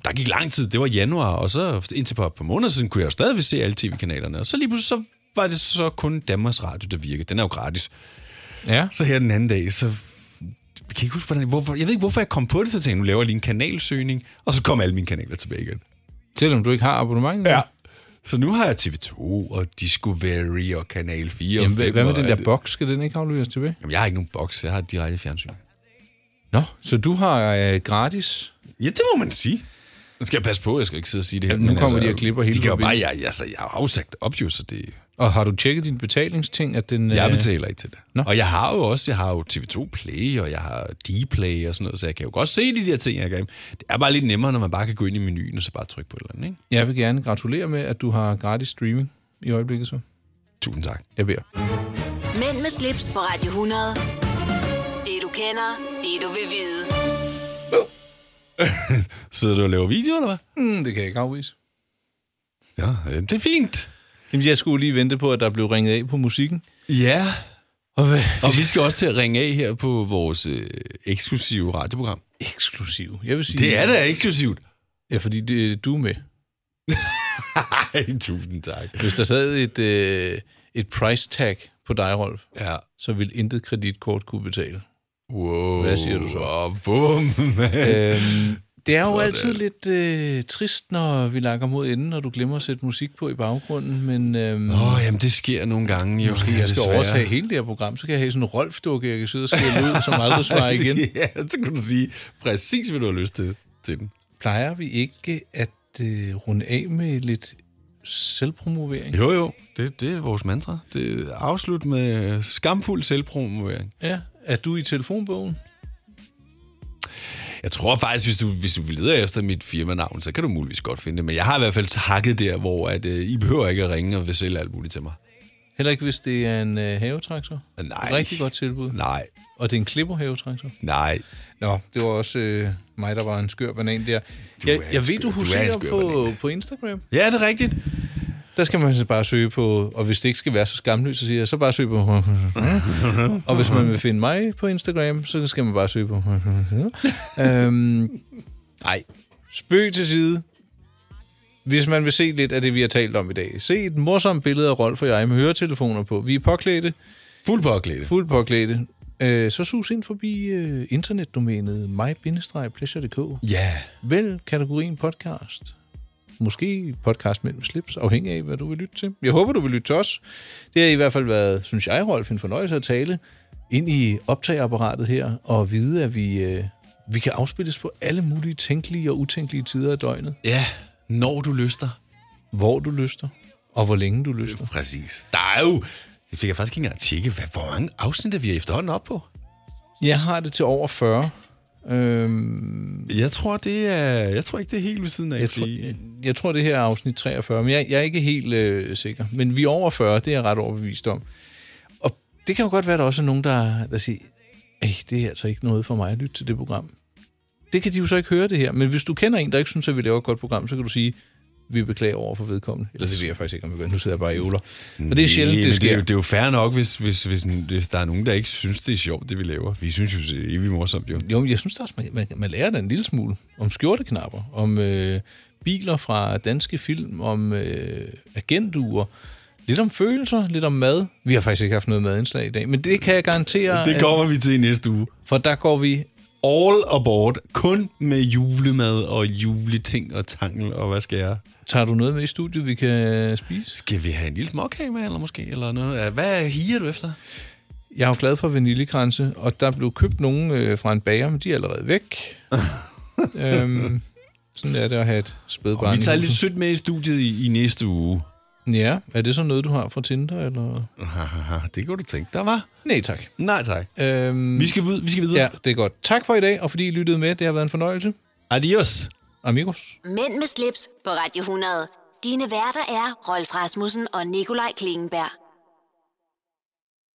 der gik lang tid, det var januar, og så indtil på et par måneder siden, kunne jeg jo stadigvæk se alle tv-kanalerne. Og så lige pludselig, så var det så kun Danmarks Radio, der virkede. Den er jo gratis.
Ja.
Så her den anden dag, så jeg kan ikke huske, hvordan, hvorfor, jeg ved ikke, hvorfor jeg kom på det, så tænkte jeg, nu laver jeg lige en kanalsøgning, og så kom alle mine kanaler tilbage igen.
Selvom du ikke har abonnement?
Ja. Så nu har jeg TV2 og Discovery og Kanal 4
Jamen,
og 5.
hvad, hvad med
og
den
alt
der
det.
boks? Skal den ikke afleveres tilbage?
Jamen, jeg har ikke nogen boks, jeg har et direkte fjernsyn.
Nå, så du har øh, gratis?
Ja, det må man sige. Nu skal jeg passe på, jeg skal ikke sidde og sige det her. altså,
Jamen, nu kommer de og klipper hele
De kan jo bare,
forbindelsen.
jeg, altså, jeg har jo afsagt op, jo, så det,
Og har du tjekket dine betalingsting? At den,
jeg
øh,
betaler ikke til det. Nå. Og jeg har jo også, jeg har jo TV2 Play, og jeg har D-Play og sådan noget, så jeg kan jo godt se de der ting, jeg kan. Det er bare lidt nemmere, når man bare kan gå ind i menuen og så bare trykke på et eller andet, ikke?
Jeg vil gerne gratulere med, at du har gratis streaming i øjeblikket så.
Tusind tak.
Jeg beder.
Mænd med slips på Radio 100. Det du kender, det du vil vide.
Sidder du og laver video, eller hvad?
Mm, det kan jeg ikke afvise.
Ja, øh, det er fint.
Jamen, jeg skulle lige vente på, at der blev ringet af på musikken.
Ja.
Og, hvad?
Og vi skal også til at ringe af her på vores øh, eksklusive radioprogram.
Eksklusiv? Jeg vil sige...
Det er da eksklusivt.
Ja, fordi det, du er med.
Ej, tusind tak.
Hvis der sad et, øh, et price tag på dig, Rolf,
ja.
så ville intet kreditkort kunne betale.
Wow.
Hvad siger du så?
Oh, bum, øhm,
Det er jo Sådan. altid lidt øh, trist, når vi lakker mod enden, og du glemmer at sætte musik på i baggrunden, men... Øhm,
Åh, oh, jamen det sker nogle gange jo.
Måske jeg skal
desværre.
overtage hele det her program, så kan jeg have sådan en Rolf-dukke, jeg kan sidde og skille ud, som aldrig svarer igen.
ja, så kan du sige præcis, hvad du har lyst til, til den.
Plejer vi ikke at øh, runde af med lidt selvpromovering?
Jo, jo. Det, det er vores mantra. Det er afslut med skamfuld selvpromovering.
Ja, er du i telefonbogen?
Jeg tror faktisk, hvis du, hvis du leder efter mit firmanavn, så kan du muligvis godt finde det. Men jeg har i hvert fald hakket der, hvor at, øh, I behøver ikke at ringe og vil sælge alt muligt til mig.
Heller ikke, hvis det er en øh, havetraktor?
Nej.
Rigtig godt tilbud.
Nej.
Og det er en klipperhavetraktor?
Nej.
Nå, det var også øh, mig, der var en skør banan der.
er
Jeg,
en
jeg ved,
skør- du
du
er en
huserer
skør
på, på Instagram.
Ja, det er rigtigt.
Der skal man så bare søge på, og hvis det ikke skal være så skamløst, så siger jeg, så bare søg på... Og hvis man vil finde mig på Instagram, så skal man bare søge på... øhm, nej, spøg til side. Hvis man vil se lidt af det, vi har talt om i dag, se et morsomt billede af Rolf og jeg med høretelefoner på. Vi er påklædte.
Fuld påklædte.
Fuld påklædte. Øh, så sus ind forbi øh, internetdomænet my-pleasure.dk.
Ja.
Vælg kategorien podcast. Måske podcast mellem slips, afhængig af, hvad du vil lytte til. Jeg håber, du vil lytte til os. Det har i hvert fald været, synes jeg, Rolf, en fornøjelse at tale ind i optageapparatet her, og vide, at vi, øh, vi kan afspilles på alle mulige tænkelige og utænkelige tider af døgnet.
Ja, når du lyster.
Hvor du lyster, og hvor længe du lyster.
Præcis. Der er jo, Det fik jeg faktisk ikke engang tjekke. Hvad, hvor mange afsnit er vi efterhånden op på?
Jeg har det til over 40. Øhm,
jeg tror det er, jeg tror ikke det er helt ved siden af.
Jeg,
fordi-
tror, jeg, jeg tror det her er afsnit 43, men jeg, jeg er ikke helt øh, sikker. Men vi er over 40, det er jeg ret overbevist om. Og det kan jo godt være, at der også er nogen, der, der siger, Ej, det er altså ikke noget for mig at lytte til det program. Det kan de jo så ikke høre det her, men hvis du kender en, der ikke synes, at vi laver et godt program, så kan du sige, vi beklager over for vedkommende. Eller det ved jeg faktisk ikke, om vi gør. Nu sidder jeg bare i ævler. Og det er sjældent,
Mm, Nej,
det
men Det er,
sker.
jo, det er jo fair nok, hvis, hvis, hvis, hvis der er nogen, der ikke synes, det er sjovt, det vi laver. Vi synes jo, det er evigt morsomt, jo.
Jo, men jeg synes da også, man, man, man lærer da en lille smule om skjorteknapper, om øh, biler fra danske film, om øh, agentuer, lidt om følelser, lidt om mad. Vi har faktisk ikke haft noget madindslag i dag, men det kan jeg garantere.
Det kommer vi til i næste uge.
For der går vi
all aboard. Kun med julemad og juleting og tangel og hvad skal jeg?
Tager du noget med i studiet, vi kan øh, spise?
Skal vi have en lille småkage med, eller måske? Eller noget? Hvad higer du efter?
Jeg er jo glad for vaniljekranse, og der blev købt nogen øh, fra en bager, men de er allerede væk. øhm, sådan er det at have et spædbarn.
Og vi
i
tager
huset.
lidt sødt med i studiet i, i næste uge.
Ja, er det så noget, du har fra Tinder, eller?
det kunne du tænke dig, var.
Nej, tak.
Nej, tak.
Øhm,
Vi skal, vid- vi skal videre.
Ja, det er godt. Tak for i dag, og fordi I lyttede med. Det har været en fornøjelse.
Adios.
Amigos.
Mænd med slips på Radio 100. Dine værter er Rolf Rasmussen og Nikolaj Klingenberg.